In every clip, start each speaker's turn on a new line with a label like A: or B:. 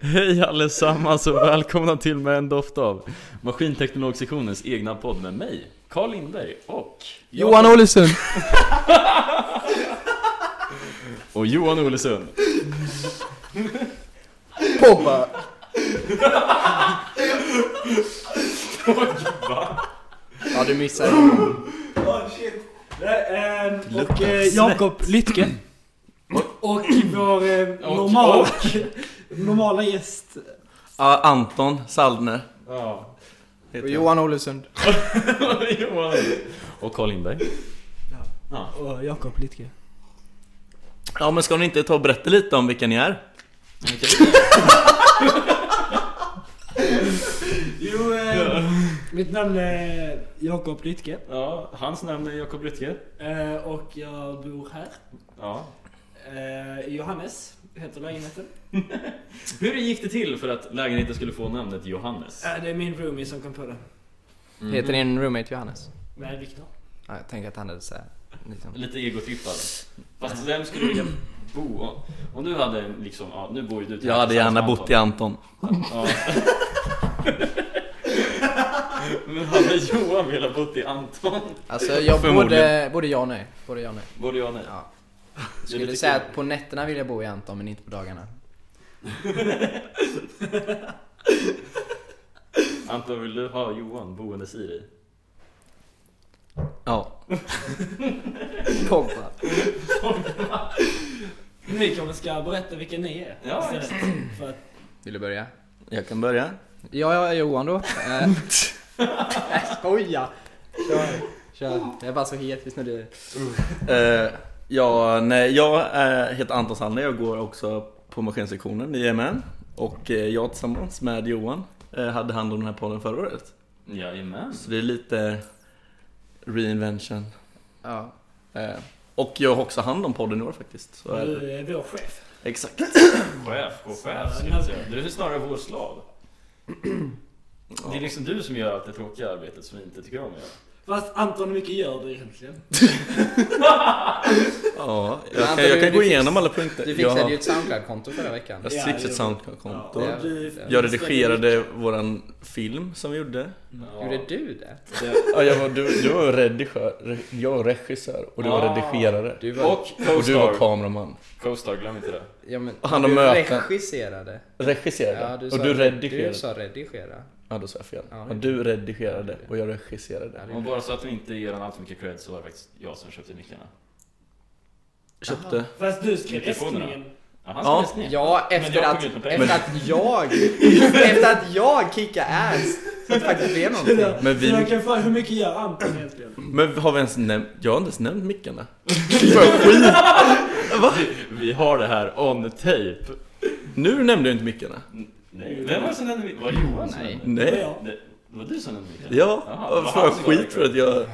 A: Hej allesammans och välkomna till Med en doft av Maskinteknologsektionens egna podd med mig, Carl Lindberg och
B: Johan Ålesund!
A: och Johan Olesund
B: Pogba! Ja du missade
C: Oh, Och eh, Jakob Lytke. Och vår eh, normal, normala gäst.
D: Ja, Anton Saldner.
B: Och Johan Ålesund
A: Johan och Carl Lindberg
C: Och Jakob Lytke.
D: Ja, men ska ni inte ta och berätta lite om vilka ni är?
C: Jo, eh, mitt namn är Jakob Lytke.
A: Ja, hans namn är Jakob Rytke
C: Eh, och jag bor här.
A: Ja
C: Eh, Johannes heter lägenheten.
A: Hur gick det till för att lägenheten skulle få namnet Johannes?
C: Eh, det är min roomie som kom på det.
B: Heter din roommate Johannes?
C: Med Viktor.
B: Mm. Ja, jag tänker att han hade såhär liksom.
A: Lite egotrippad Fast vem skulle vilja bo? Om du hade en liksom, ja nu bor ju du
D: Jag hade gärna bott i Anton.
A: Ja. Men hade Johan velat bott i Anton?
B: Alltså jag
D: Förmodligen.
B: både, både ja och nej, både ja och nej
A: Både jag och nej.
B: Ja.
A: Det är
B: Skulle
A: lite
B: säga
A: kul.
B: att på nätterna vill jag bo i Anton men inte på dagarna
A: Anton, vill du ha Johan boendes i dig?
D: Ja.
B: Pogba
C: Ni kanske ska berätta vilka ni är.
A: Ja,
C: istället. för att,
B: Vill du börja?
D: Jag kan börja.
B: Ja, jag är Johan då Eh, Jag skojar! Kör, kör Jag är bara så het just nu du
D: Eh, ja, nej, jag eh, heter Anton Sandner, jag går också på maskinsektionen i EMN. Och eh, jag tillsammans med Johan eh, hade hand om den här podden förra året.
A: Jajamän.
D: Så det är lite reinvention.
B: Ja,
D: Eh, och jag har också hand om podden i år faktiskt. Så är det.
C: du är vår chef.
D: Exakt.
A: Chef och chef skulle jag säga. Du är snarare vår slav. Det är liksom du som gör allt det tråkiga arbetet som vi inte tycker om att göra.
C: Fast Anton, hur mycket gör du egentligen?
D: Ja,
B: Men
D: jag
B: Anton,
D: kan, jag
B: du-
D: kan
B: du
D: gå
B: fix-
D: igenom alla punkter.
B: du
D: Jag
B: fixade
D: har-
B: ju ett Soundcloud-konto förra veckan
D: Jag
C: Ja,
D: har fixat
C: det-
D: Soundcloud-konto.
C: Ja, och du-
D: Jag redigerade våran film som vi gjorde.
B: Gjorde du det?
D: Ja, jag var, du, du var redigör, re- jag var regissör och du var
A: Ah.
D: redigerare.
B: Du var...
A: Och
D: Och du var
A: co-star.
D: kameraman.
A: Co-star, glöm inte det.
B: ja, men,
D: Och han har
B: du
D: möten.
B: regisserade.
D: Regisserade.
B: Ja, du sa,
D: och du redigerade.
B: Du sa redigera.
D: Ja, då sa jag fel.
B: Ja, det-
D: och du redigerade och jag regisserade.
A: Och bara så att vi inte ger honom allt för mycket cred så var det faktiskt jag som köpte mikrofonerna.
D: Köpte.
C: Fast du skrev
A: Mikrofonerna.
C: äskningen.
A: Ja, han
D: Ja.
A: ska ja.
B: Ja,
A: Men jag
B: efter
A: kom
B: att,
A: ut med pengar.
B: efter att jag... efter att jag kickade ass. Så att det faktiskt blev någonting.
D: Men
C: Så jag
D: vi...
C: kan fråga, hur mycket gör Anton egentligen?
D: Men har vi ens nämnt... Jag har inte ens nämnt mickarna.
A: Vi har det här on tape.
D: Nu nämnde jag inte mickarna.
A: Nej, vem var det som nämnde Var det Johan som
B: Nej.
A: nämnde?
D: Nej.
C: Ja.
A: Nej, Det var du som nämnde Mikael?
D: Ja,
A: Jaha, det var
D: får
A: han
D: jag
A: som var
D: skit för att jag...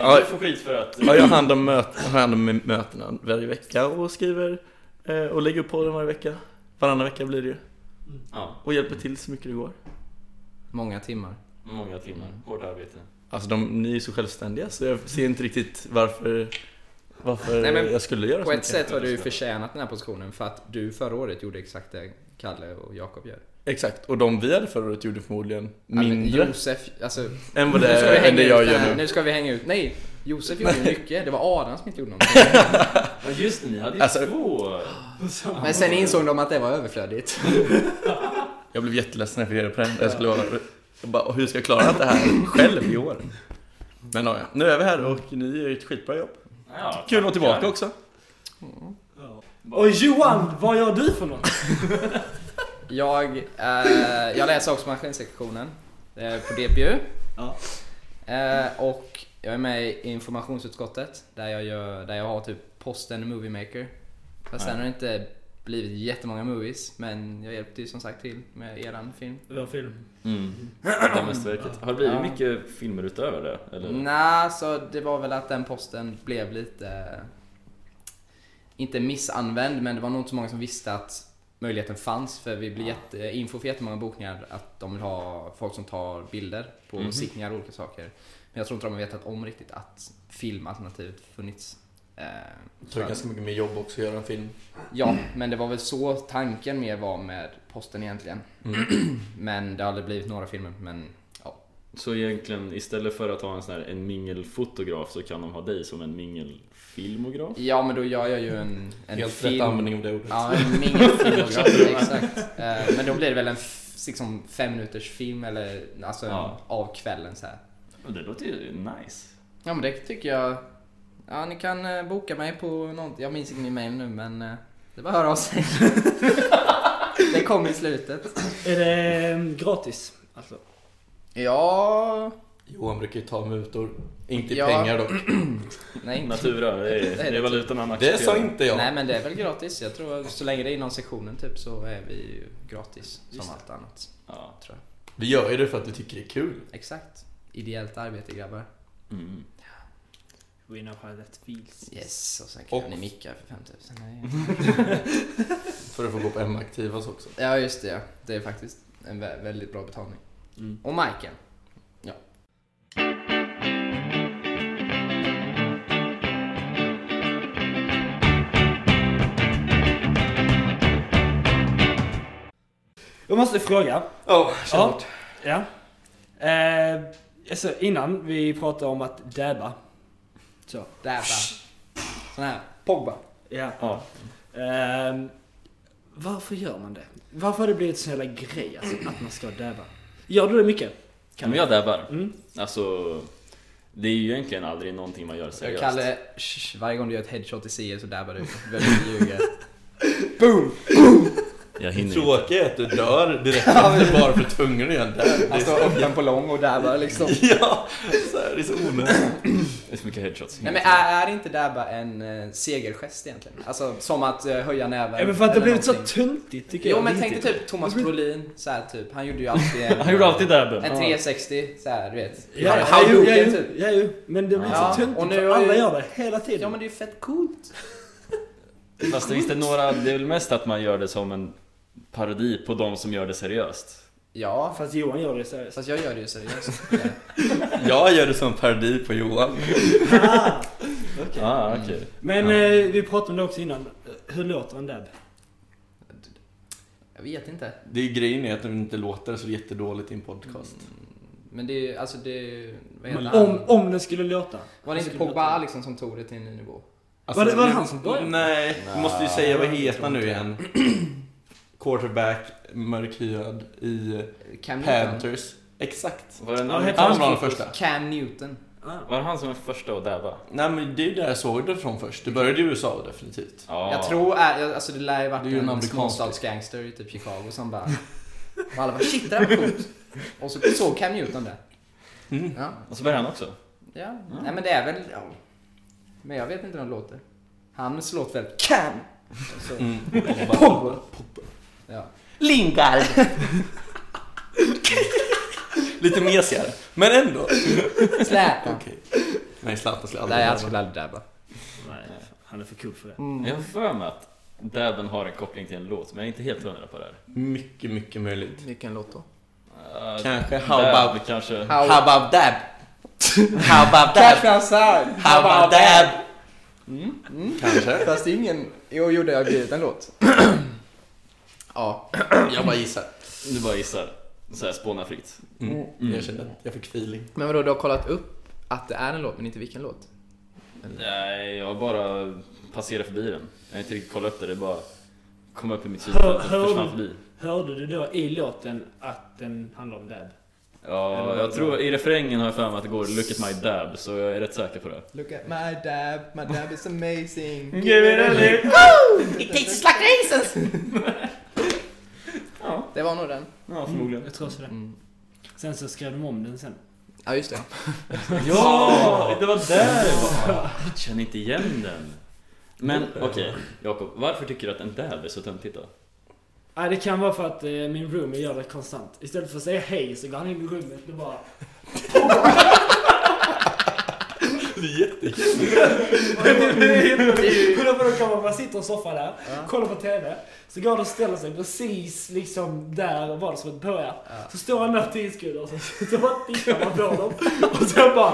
A: Ja, du får skit för att...
D: Ja, jag har hand om, möt, har hand om mötena varje vecka och skriver eh, och lägger upp podden varje vecka. Varannan vecka blir det ju.
A: Ja,
D: Och hjälper till så mycket det går.
B: Många timmar.
A: många timmar. Hårt arbete.
D: Alltså de, ni är så självständiga så jag ser inte riktigt varför, varför
B: Nej, men
D: jag skulle göra
B: På
D: så
B: ett
D: mycket.
B: sätt har du förtjänat den här positionen för att du förra året gjorde exakt det Kalle och Jakob gör.
D: Exakt, och de vi hade förra året gjorde förmodligen
B: Alltså,
D: mindre
B: Josef, alltså... Nu
D: än vad
B: ska vi
D: det, än
B: hänga
D: det
B: ut
D: jag
B: den
D: gör
B: här.
D: nu.
B: Nu ska vi hänga ut. Nej! Josef gjorde mycket. Det var Adam som inte gjorde någonting.
A: Ja just det, ni hade ju
D: Alltså-
A: två...
B: Men sen insåg de att det var överflödigt.
D: Jag blev jätteledsen när jag fick reda på det. Jag skulle vara, jag bara, hur ska jag klara det här själv i år? Men ja, nu är vi här och ni gör ett skitbra jobb.
A: Ja,
D: Kul att vara tillbaka
A: tackar.
D: också.
C: Och Johan, vad gör du för något?
B: Jag, eh, jag läser också maskinsektionen eh, på DPU.
C: Ja.
B: Eh, och jag är med i informationsutskottet där jag, gör, där jag har typ posten Movie Maker. Fast sen har det inte blivit jättemånga movies men jag hjälpte ju som sagt till med eran film.
C: Vår film.
A: Mm. Det mästerverket. Har det blivit
B: Ja.
A: mycket filmer utöver det? Eller?
B: Nej, så det var väl att den posten blev lite... Inte missanvänd, men det var nog inte så många som visste att möjligheten fanns. För vi blir jätte, info för jättemånga bokningar att de vill ha folk som tar bilder på
D: Mhm.
B: sittningar och olika saker. Men jag tror inte de har vetat om riktigt att filmalternativet funnits. Eh,
D: Det är ganska mycket mer jobb också att göra en film.
B: Ja, men det var väl så tanken mer var med posten egentligen.
D: Mm.
B: Men det har aldrig blivit några filmer. Men
A: Så egentligen istället för att ha en sån här en mingelfotograf så kan de ha dig som en mingelfilmograf?
B: ja, men då gör jag ju en, en
D: Helt
B: film.
D: rätt användning av det ordet.
B: Ja, en mingelfilmograf, exakt. Eh, Men då blir det väl en f- liksom fem minuters film eller alltså en-
A: Ja.
B: av kvällen så här.
A: Och Det låter ju nice.
B: Ja, men det tycker jag. Ja, ni kan eh, boka mig på något. Jag minns inte min mail nu, men eh, det var höra av sig. det kom i slutet.
C: Är det eh, gratis? Alltså.
B: Ja,
D: Johan brukar ju ta mutor. Inte i
B: Ja.
D: pengar dock.
B: nej. inte-
A: Natura, det är,
B: Det är
A: det är valutan han
D: Det sa
A: accepterar.
D: inte jag.
B: Nej men det är väl gratis. Jag tror att så länge det är inom sektionen typ så är vi ju gratis som allt annat.
A: Ja.
B: Tror jag.
D: Du gör ju det för att du tycker det är kul.
B: Exakt. Ideellt arbete grabbar.
A: Mm.
C: We know how that feels.
B: Yes, och sen kan
D: Och-
B: ni micka för 5000.
D: För att få gå på M-aktivas också.
B: Ja just det, ja. det är faktiskt en vä- väldigt bra betalning.
A: Mm.
B: Och Majken. Ja.
C: Jag måste fråga.
D: Ja,
C: självklart. Ja. Eh, alltså innan vi pratade om att dabba. Så.
B: Där va. Sån här. Pogba.
C: Ja.
A: Ja.
C: Ehm, varför gör man det? Varför har det blivit sån jävla grej alltså, att man ska dabba? Gör du det mycket?
A: Kan jag dabbar?
C: Mm.
A: Alltså, det är ju egentligen aldrig någonting man gör
B: Jag
A: seriöst.
B: kallar shh, varje gång du gör ett headshot i CL så dabbar du. Väldigt ljuger.
A: Jag
D: Det
A: hinner inte.
D: tråkiga är att du dör direkt efter bara för att tvungen att göra en där.
C: Alltså,
B: Han står öppen på lång och dabbar liksom.
D: Ja, så här, det är så onödigt.
A: Det är så mycket headshots.
B: Nej men är, är inte dabba en eh, segergest egentligen? Alltså som att eh, höja näven?
C: Ja, men för att det har
B: eller
C: blivit så
B: någonting.
C: töntigt tycker jag.
B: Jo men tänk dig
C: Riktigt.
B: typ Thomas Brolin, så här, typ. han gjorde ju alltid en,
A: Han gjorde alltid dabben.
B: en 360 så här, du vet.
C: Ja,
B: Han-
C: ja,
B: han
C: jo,
B: gjorde
C: ja,
B: det,
C: jo,
B: typ.
C: ja, jo, men det blir
B: Ja,
C: så töntigt
B: och nu
C: för
B: har
C: alla
B: ju-
C: gör det hela tiden.
B: Ja men det är ju fett coolt.
A: Fast visst är några, det är väl mest att man gör det som en parodi på de som gör det seriöst.
B: Ja,
C: Fast Johan gör det seriöst.
B: fast jag gör det ju seriöst.
D: Jag gör det som parodi på Johan.
A: Ah, okej.
C: Men eh, vi pratade om det också innan. Hur låter en dab?
B: Jag vet inte.
D: Det är grejen är att de inte låter så jättedåligt i en podcast.
B: Men det är ju, alltså det är ju- vad heter han?
C: Om, om den skulle låta.
B: Var det inte
C: skulle
B: Pogba
C: låta.
B: liksom som tog det till en ny nivå?
C: Var det- var det han som började?
D: Alltså, Nej, du måste ju
A: Nej,
D: säga vad
C: jag
D: heter han nu
C: tror
D: igen. Quarterback, mörkhyad i
B: Cam Newton.
D: Panthers. Exakt.
A: Var det en
C: Ja, helt
D: Han
A: amerikansk
D: var den första.
B: Cam Newton.
C: Ah.
A: Var det han som var första att dabba?
D: Nej men det är ju där jag såg det från först. Det började i USA definitivt.
A: Ja.
B: Jag tror, äh, jag- alltså det lär ju varit
D: Det är ju en
B: en
D: amerikansk-
B: småstadsgangster i typ Chicago som bara... Och alla bara shit det där var coolt. Och så såg Cam Newton det.
D: Mm.
B: Ja,
A: Och så började han också.
B: ja. Nej men det är väl... Ja. Men jag vet inte hur de låter. Hans låt väl Cam! Så.
D: Mm.
B: Pogba! Ja.
D: Lingard! Lite mesigare, men ändå.
B: Släpa!
D: Okej. Nej, Zlatan skulle aldrig
B: Nej alltså.
D: göra
B: han skulle aldrig dabba.
C: Nej, han är för cool för det.
A: Jag har för mig att dabben har en koppling till en låt, men jag är inte helt hundra på det här.
D: det. Mycket, mycket möjligt.
B: Vilken låt då?
A: Eh,
D: Kanske How
A: dab
D: about...
A: kanske.
B: How,
D: How about dab? How about
B: Catch
D: dab?
B: me outside!
D: How about dab?
B: Mm. Mm.
D: Kanske.
B: Fast det är ingen... Jo, gjorde jag blivit en låt? ja.
D: Jag bara gissar.
A: Du bara gissar. Så här spåna fritt.
D: Mm.
A: Mm.
D: Jag kände att jag fick feeling.
B: Men vadå, du har kollat upp att det är en låt men inte vilken låt?
A: Nej, jag bara passerar förbi den. Jag har inte riktigt kollat upp det, det bara kom upp i mitt
C: Hör-
A: synfält och
C: hör
A: försvann
C: du?
A: förbi.
C: Hörde du då i låten att den handlar om dab?
A: Ja, jag tror i refrängen har jag för mig att det går 'Look at my dab' så jag är rätt säker på det.
B: Look at my dab, my dab is amazing
A: Give it a lick.
B: It tastes like raisins!
A: Ja,
B: Det var nog den.
A: ja förmodligen.
C: Jag tror så det.
B: Mm.
C: Sen så skrev de om den sen.
B: Ja, just det.
A: Mm. Ja, det var där det var. Jag känner inte igen den. Men okej, Jakob. Varför tycker du att en dab är så töntigt då?
C: Nej, det kan vara för att eh, min roomie gör det konstant. Istället för att säga hej så går han in i rummet och bara...
A: Det är jättekul.
C: Vadå kommer man sitter i soffan där, kollar på TV, så går han och ställer sig precis liksom där valsmet börjar. Så står han där tidsskuddar och så sitter man och tittar man på dem och sen bara...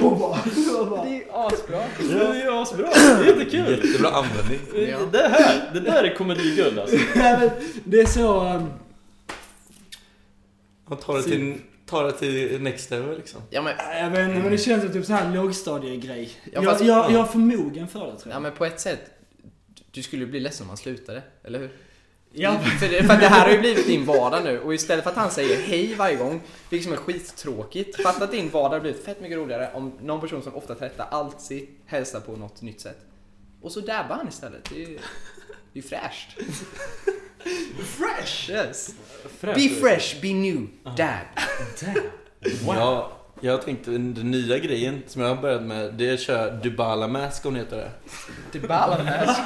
C: Och bara, och bara
B: Det är asbra.
A: Det är asbra. Det är jättekul.
D: Jättebra användning.
B: Ja.
A: Det här, det där är komediguld alltså.
C: Nej, men det är så... ehm,
D: Man tar det till, tar det till next level liksom.
B: Ja men,
C: nej, jag vet inte, men det känns som typ så här lågstadiegrej.
B: Ja,
C: Jag,
B: fast-
C: jag, jag är förmogen för det tror
B: ja
C: jag.
B: men på ett sätt. Du skulle ju bli ledsen om han slutade, eller hur?
C: Ja,
B: För, det, för att det här har ju blivit din vardag nu och istället för att han säger hej varje gång, vilket som är skittråkigt. Fatta att din vardag har blivit fett mycket roligare om någon person som ofta tvättar alltid hälsar på något nytt sätt. Och så dabbar han istället. Det är ju det är fräscht. Fresh! Yes. Be fresh, be new, dab.
D: Ja, jag tänkte den nya grejen som jag har börjat med, det är att köra Dubala Mask om ni heter det.
B: Det ballar med.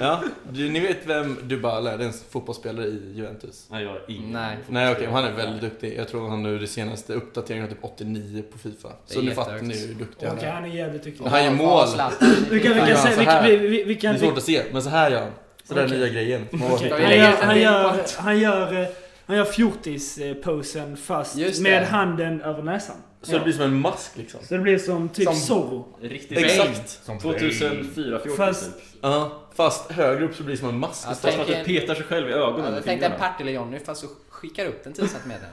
D: Ja, du, ni vet vem Dubala är? Det är en fotbollsspelare i Juventus.
A: Nej, jag har ingen
B: Nej.
D: Nej okej, men han är väldigt duktig. Jag tror han nu det senaste uppdateringen var typ 89 på Fifa.
B: Det
D: Så
B: är
D: nu fattar
B: jättehögt.
D: ni hur
C: okej
D: duktig han är.
C: han är jävligt duktig.
D: Han gör
B: Vad-
D: mål.
B: vad Zlatan-
C: Vi kan, vi kan,
D: Han gör
C: se,
D: så
C: vi kan,
D: här.
C: vi, vi, vi
D: Det
C: kan,
D: är
C: vi,
D: svårt att se, men så här gör han. Så den
C: Okej.
D: nya grejen. Man bara
C: Okej,
D: tittar.
B: vi
C: Han, gör,
B: lägger
C: han,
B: en
C: gör,
B: bild på
C: han gör, eh, han gör fjortis-posen fast
B: Just det.
C: med handen över näsan.
D: Så det blir som en mask liksom.
C: Så det blir som typ
B: Som-
C: Zorro.
A: Riktigt
D: Exakt!
A: 2004, 14
C: Fast-
A: typ.
D: Ja, fast högre upp så blir det som en mask.
B: Ja,
A: Fast att du
B: Tänk en-
A: petar sig själv i ögonen
B: Ja,
A: med
B: jag tänkte en
A: fingrarna.
B: Partille-Johnny fast så skickar upp den 10 centimeter.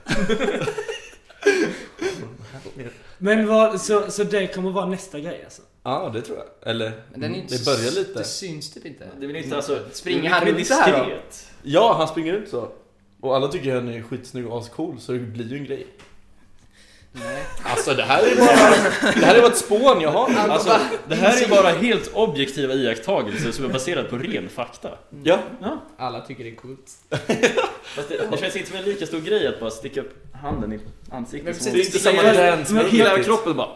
C: Men vad, så, så det kommer vara nästa grej alltså?
D: Ja, det tror jag. Eller,
B: Men den är inte
D: det
B: så-
D: börjar lite.
B: Det syns typ inte.
A: Det vill inte alltså...
B: Springer
A: det är
B: han
A: lite
B: runt så här då?
A: diskret.
D: Ja, han springer ut så. Och alla tycker han är skitsnygg och ascool, så det blir ju en grej.
B: Nej.
D: Alltså det här är bara, det här är bara ett spån jag har.
A: Alltså, det här är bara helt objektiva iakttagelser som är baserade på ren fakta.
D: Ja,
A: Ja.
B: Alla tycker det är coolt.
A: Fast det, det känns inte som en lika stor grej att bara sticka upp handen i
B: Men
A: ansiktet.
B: precis,
A: som-
D: det är inte samma
B: Men-
D: dance
A: Men
D: men
A: hela
D: riktigt.
A: kroppen bara...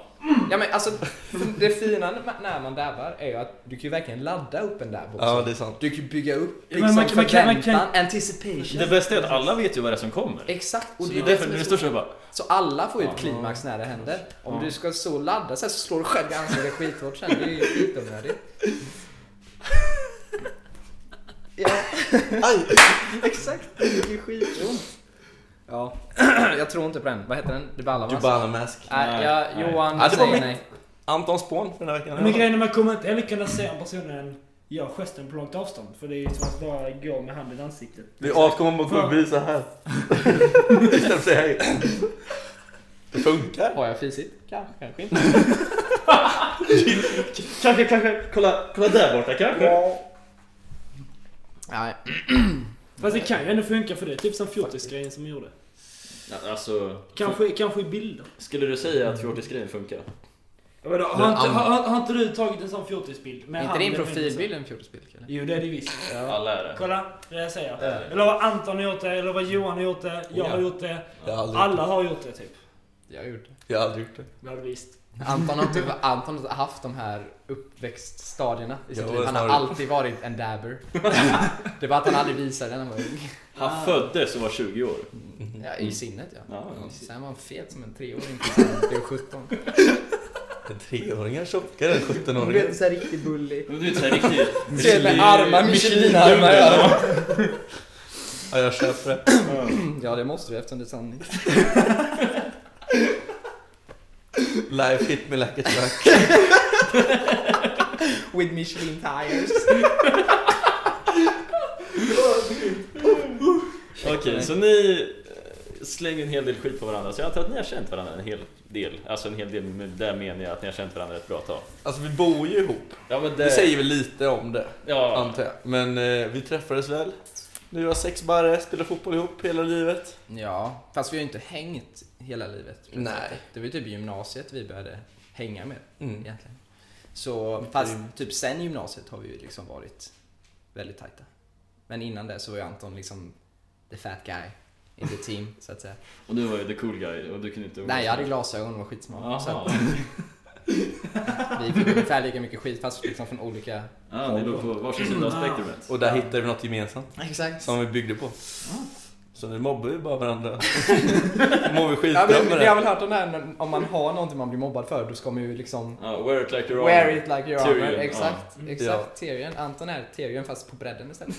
B: Ja men alltså, det fina med- när man dabbar är ju att du kan ju verkligen ladda upp en dab också.
D: Ja, det är sant.
B: Du kan ju bygga upp
C: Ja,
B: liksom
C: men man kan- man kan- man
B: förväntan,
C: kan-
B: anticipation.
A: Det bästa är att alla vet ju vad det är som kommer.
B: Exakt.
A: Och
B: Och
A: det är
B: ju
A: därför
B: som
A: när det
B: så- liksom-
A: står så här bara...
B: Så alla får ju ett
A: Ja.
B: klimax när det händer. Om
A: Ja.
B: du ska så ladda så, här så slår du själv i ansiktet skithårt sen. Det är ju skitonödigt. Ja. Exakt, det är ju skitont. Ja, jag tror inte på den. Vad heter den? Du ballar va?
D: Dubana Mask.
B: Nej, ja,
A: Nej.
B: Johan
D: Ja, det var
B: säger
D: mitt-
B: nej.
D: Anton Spån för den här veckan.
C: Men grejen är man kommer inte heller kunna se om personen gör gesten på långt avstånd. För det är ju som att bara gå med handen i ansiktet.
D: Det är ascool om man går förbi så här. Istället för att säga hej. Det funkar.
B: Har jag fisit? Kanske, kanske inte.
A: Kanske, kanske, kolla, kolla där borta kanske.
B: Nej.
C: Fast det kan ju ändå funka för det. är Typ som fjortisgrejen som gjorde.
A: Ja, Alltså,
C: Kanske, kanske i bilder.
A: skulle du säga att fjortisgrejen funkar?
C: Vadå, har, inte, har, har inte du tagit en sån fjortisbild? med
B: Är inte
C: handen
B: din
C: med
B: profilbild
C: så?
B: en fjortisbild eller?
C: Jo, det är det visst.
A: Alla är det.
C: Kolla, det jag säger. Eller vad Anton har gjort det, eller vad Johan har gjort det, jag
D: Ja.
C: har gjort det.
D: Jag har aldrig,
C: Alla har gjort det typ.
B: Jag har gjort det.
D: jag har aldrig gjort det.
C: Ja, visst.
B: Anton har inte Anton har inte haft de här uppväxtstadierna i sitt
D: Jo,
B: liv. Han har
D: snarare.
B: alltid varit en dabber. Det var att han aldrig visade den när han var ung.
A: Han föddes och var 20 år.
B: Ja, I sinnet ja.
A: Ja,
B: Sen var han fet som en treåring. Det blev 17.
D: En treåring är tjockare än
B: Du
D: 17-åringen.
B: vet, såhär riktigt bullig.
A: Men du vet såhär riktigt...
B: Ser med armar, Michelin-armar. Ja.
D: Ja, jag köper det.
B: Mm, ja, det måste du eftersom det är sanning.
D: Life hit me like a truck.
B: With Michelin tires.
A: Okej, så ni eh, slänger en hel del skit på varandra. Så jag antar att ni har känt varandra en hel del. Alltså en hel del, med där menar jag att ni har känt varandra ett bra tag.
D: Alltså vi bor ju ihop.
A: Ja men
D: Det säger väl lite om det.
A: Ja,
D: Antar jag. Men eh, vi träffades väl. Nu har sex barre, spelar fotboll ihop hela livet.
B: Ja, fast vi har ju inte hängt hela livet. på det
D: Nej.
B: sättet. Det var ju typ i gymnasiet vi började hänga med
D: Mm.
B: egentligen. Så, fast typ sen gymnasiet har vi ju liksom varit väldigt tajta. Men innan det så var ju Anton liksom the fat guy in the team, så att säga.
A: och du var ju the cool guy och du kunde inte...
B: Nej, jag hade glasögon och var skitsmart. Så
A: Jaha.
B: att vi fick ungefär lika mycket skit fast liksom från olika...
A: Ja, ni låg på varsin sida av spektrumet.
D: Och där hittade vi något gemensamt
B: Exakt.
D: som vi byggde på. Så nu mobbar vi bara varandra. Mår vi skitbra
B: Ja, men,
D: med
B: vi har
D: det.
B: väl hört om det här, när- om man har någonting man blir mobbad för, då ska man ju liksom
A: Ja, wear it like you're
B: Wear
A: on.
B: it like your
A: Tyrion,
B: armor.
A: ja.
B: Exakt, exakt.
D: Ja.
B: Tyrion. Anton är Tyrion fast på bredden istället.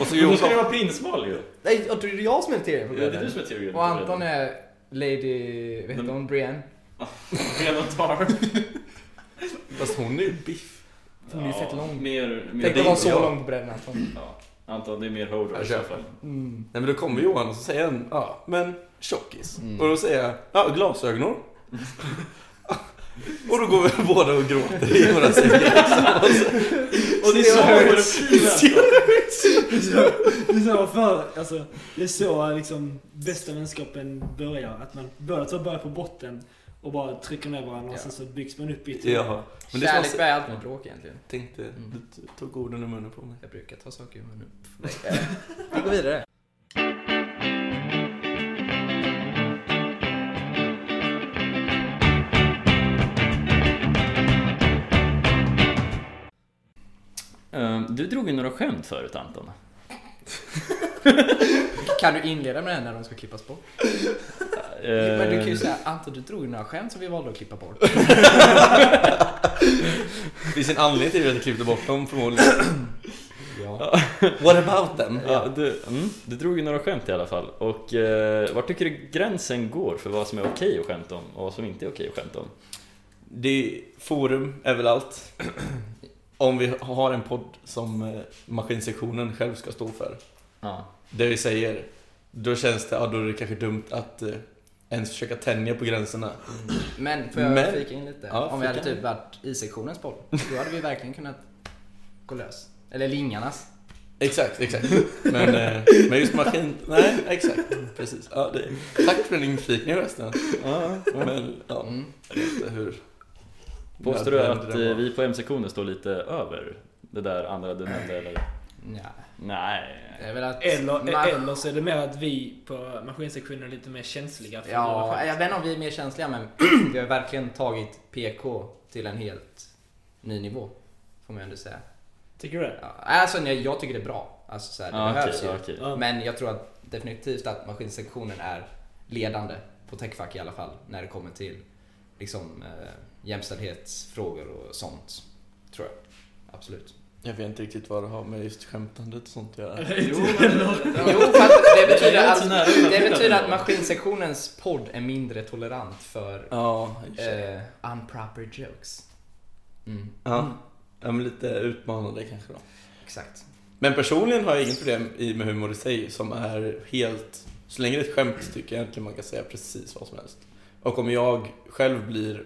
D: Och så
A: Jo, då
D: Josef.
A: ska du vara prinsmal ju.
B: Nej, och det är jag som är Tyrion på
A: Ja, det är
B: bredden.
A: du som är Tyrion.
B: Och Anton är Lady, vad heter
A: Men-
B: hon, Brienne?
A: Benatar.
D: Fast hon är ju biff.
B: Hon är ju fett lång.
A: Mer, mer
B: Tänk att vara
D: inte
B: så
D: jag.
B: lång på bredden Anton.
A: Ja. Anton, det är mer Hodor
D: Jag
A: i så
D: köper.
A: fall.
B: Mm.
D: Nej men då kommer Johan och så säger han, ja men tjockis.
B: Mm.
D: Och då säger jag, ja glasögonor. och då går vi båda och gråter i våra sängar.
A: Och det är så Hodor
C: Det är så för, alltså, det är så liksom bästa vänskapen börjar. Att man båda två börjar på botten och bara trycker ner varandra och
B: Ja.
C: sen så byggs man upp i ett-
D: Ja. Men det är
B: Kärlek
D: som-
B: bär allt med bråk egentligen.
D: Tänkte, du t- tog orden ur munnen på mig.
B: Jag brukar ta saker ur munnen. Nej, eh, Vi går vidare.
A: Ehm, Du drog ju några skämt förut Anton.
B: Kan du inleda med det här när de ska klippas bort?
A: Eh,
B: Men du kan
A: Ehm,
B: ju säga Anton du drog ju några skämt som vi valde att klippa bort.
D: Det finns en anledning till att jag klippte bort dem förmodligen. What about them?
A: Ja, du, mm, du drog ju några skämt i alla fall. Och eh, var tycker du gränsen går för vad som är okej att skämta om och vad som inte är okej att skämta om?
D: Det är forum överallt. Om vi har en podd som eh, maskinsektionen själv ska stå för.
A: Ja.
D: Det vi säger. Då känns det, ja då är det kanske dumt att eh, ens försöka tänja på gränserna.
B: Men får jag
D: Men-
B: flika in lite?
D: Ja,
B: Om vi hade
D: flika in.
B: typ varit i sektionens boll, då hade vi verkligen kunnat gå lös. Eller lingarnas.
D: Exakt, exakt. Men, eh, men just maskin... Nej, exakt. Precis. Ja, det, tack för den inflikningen förresten. Ja, men, ja,
B: Mm.
D: jag vet inte hur...
A: Påstår du
D: nödvändig
A: att
D: den
A: eh,
D: var.
A: vi på MC-konen står lite över det där andra du nämnde eller?
B: Ja,
A: Nej.
B: det är väl att...
C: Eller,
B: man-
C: eller så är det mer att vi på maskinsektionen är lite mer känsliga för våra
B: Ja, eh.
C: skämt.
B: jag vet inte om vi är mer känsliga men vi har verkligen tagit PK till en helt ny nivå. Får man ju ändå säga.
C: Tycker du det?
B: Ja, alltså nej, jag tycker det är bra. Alltså så här, det
A: Ja,
B: behövs
A: okej,
B: ju.
A: okej.
C: Ja.
B: Men jag tror att definitivt att maskinsektionen är ledande på techfack i alla fall när det kommer till liksom eh, jämställdhetsfrågor och sånt. Tror jag. Absolut.
D: Jag vet inte riktigt vad det har med just skämtandet och sånt att göra.
B: Jo, jo fast
A: Det
B: det betyder
A: är inte
B: att,
A: så nära den här
B: det betyder att
A: bilden.
B: maskinsektionens podd är mindre tolerant för
D: Ja,
B: eh, unproper jokes. Mm,
D: ja. ja men lite utmanande kanske då.
B: exakt.
D: Men personligen har jag inget problem i med humor i sig som är helt... Så länge det är ett skämt tycker jag egentligen man kan säga precis vad som helst. Och om jag själv blir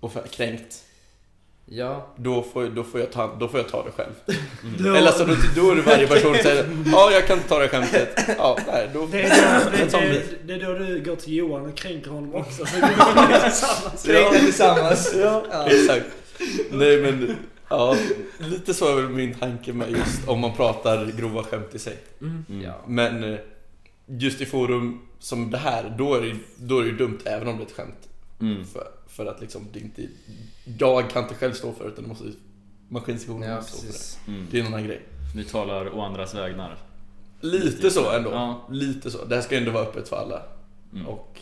D: off- kränkt,
B: Ja,
D: då får, då får, jag, ta, då får jag ta det själv.
A: Mm.
C: Ja,
D: Eller så då, då är det varje person som säger ja, jag kan inte ta det skämtet. Ja, nej, då...
C: det, är då,
D: Jag
C: det,
D: tar
C: det,
D: mig.
C: det är då du går till Johan och kränker honom också. Så
D: Ja.
B: tillsammans.
D: Ja, exakt. Nej, men ja, lite så är väl min tanke med just om man pratar grova skämt i sig.
A: Mm.
B: Ja.
D: Men eh, just i forum som det här, då är det, då är det ju dumt även om det är ett skämt.
A: Mm.
D: För, för att liksom, det är inte... Jag kan inte själv stå för det, utan det måste maskinsektionen
B: ja,
D: stå för det.
B: precis.
A: Mm.
D: Det är en annan grej.
A: Ni talar å andras vägnar.
D: Lite så ändå.
A: Ja.
D: Lite så. Det här ska ju ändå vara öppet för alla.
A: Mm.
D: Och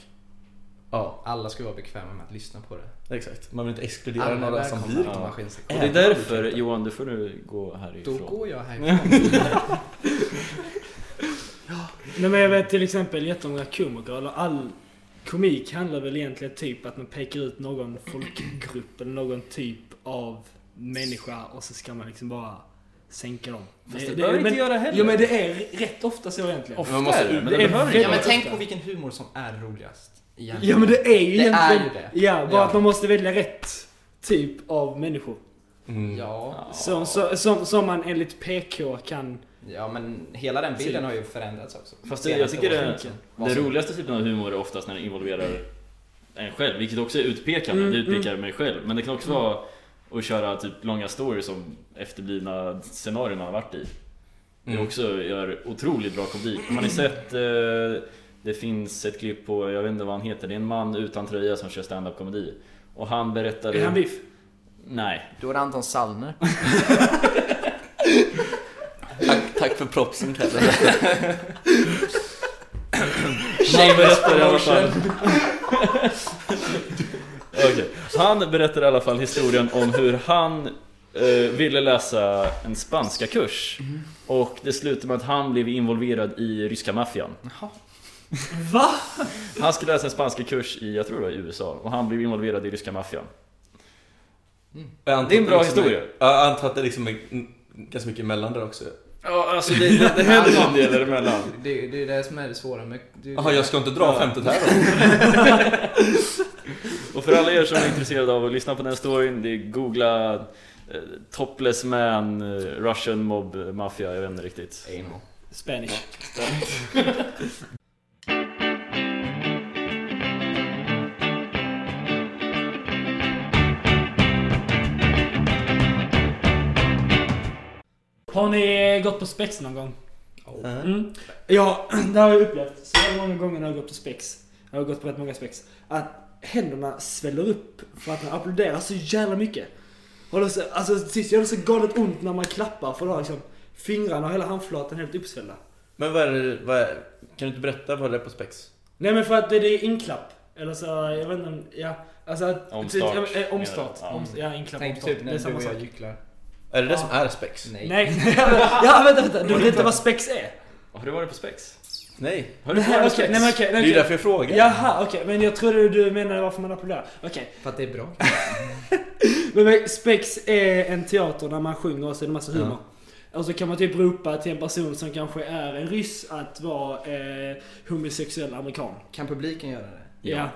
D: ja,
B: Alla ska vara bekväma med att lyssna på det.
D: exakt. Man vill inte exkludera
B: Alla är
D: några som
B: välkomna
D: blir
B: till
A: Ja. Och
B: maskinsektionen.
A: det är därför, Johan, du får nu gå härifrån.
B: Då går jag härifrån.
C: Nej men jag vet till exempel jättemånga komiker, eller all komik handlar väl egentligen typ att man pekar ut någon folkgrupp eller någon typ av människa och så ska man liksom bara sänka dem.
A: Fast det behöver inte
C: men,
A: göra heller.
C: Jo men det är rätt ofta så egentligen.
A: Ofta
D: Man måste-
A: är det, men
C: det
A: det,
C: är
A: behöver
C: väldigt-
B: ja,
A: inte
B: men
A: vara
B: tänk på vilken humor som är roligast. Egentligen.
C: Ja men det är ju
B: Det
C: egentligen...
B: är ju det.
C: Ja, bara
B: Ja.
C: att man måste välja rätt typ av människor.
D: Mm.
B: Ja,
C: Som, så- som, som man enligt PK kan...
B: ja, men hela den bilden har ju förändrats också.
A: Fast det- jag
B: Senaste
A: tycker det-
B: åren. Vad
A: Den
B: som-
A: roligaste typen av humor är oftast när den involverar en själv, vilket också är utpekande.
C: Mm,
A: det utpekar mig själv. Men det kan också vara att köra typ långa stories om efterblivna scenarion man har varit i. Det
D: Mm.
A: också gör otroligt bra komedi. Har ni sett eh, det finns ett klipp på, jag vet inte vad han heter, det är en man utan tröja som kör stand-up komedi. Och han berättar...
C: Är han biff?
A: Nej.
B: Då är det Anton Sallner.
D: Tack, tack för propsen Kalle.
A: Han berättar i alla fall... Okej. Han berättar i alla fall historien om hur han eh, ville läsa en spanska kurs Och det slutade med att han blev involverad i ryska maffian
C: Va?
A: Han skulle läsa en spanska kurs i, jag tror det var i USA Och han blev involverad i ryska maffian
D: Jag antar
A: Det är en
D: att
A: bra
D: liksom
A: historia.
D: Jag antar att det liksom är mm, ganska mycket mellan där också.
A: Ja, alltså det, det, det händer en del däremellan
B: Det, det är det som är det svåra med... du-
D: Jaha, jag ska inte dra
B: Ja.
D: skämtet här då?
A: Och för alla er som är intresserade av att lyssna på den här storyn, det är googla eh, Topless man, eh, Russian mob, eh, maffia, jag vet inte riktigt.
B: Anal.
C: Spanish. Har ni eh, gått på spex någon gång? Mm. Ja, det har jag upplevt så jävla många gånger när jag har gått på spex. Jag har gått på rätt många spex. Att händerna sväller upp för att man applåderar så jävla mycket. Och då, så- alltså till sist gör det så galet ont när man klappar för då har liksom fingrarna och hela handflatan helt uppsvällda.
D: Men vad är det, vad är, kan du inte berätta vad det är på spex?
C: Nej men för att det, det är inklapp. Eller så, jag vet inte, om- ja. Alltså att...
A: Omstart,
C: Ja, eh, omstart.
A: menar du? Ja.
C: Omst- Ja, inklapp
B: Tänk
C: omstart.
B: typ
C: det är
B: när du
C: samma
B: och
C: sak.
B: jag gycklar.
D: Är det det
C: Ja.
D: som är spex?
B: Nej.
C: Nej, ja vänta vänta. Du vet inte vad spex är?
A: Har du varit på spex?
D: Nej.
A: Har du
C: Nej
A: varit
C: okej,
A: på spex?
C: nej men okej.
D: Det är
C: nej,
D: ju
C: okej.
D: därför jag frågar.
C: Jaha, okej. Men jag trodde du menade varför man applåderar. Okej.
B: För att det är bra.
C: Men, men Spex är en teater där man sjunger och så är det massa humor. Och så kan man typ ropa till en person som kanske är en ryss att vara eh, homosexuell amerikan.
B: Kan publiken göra det?
A: Ja.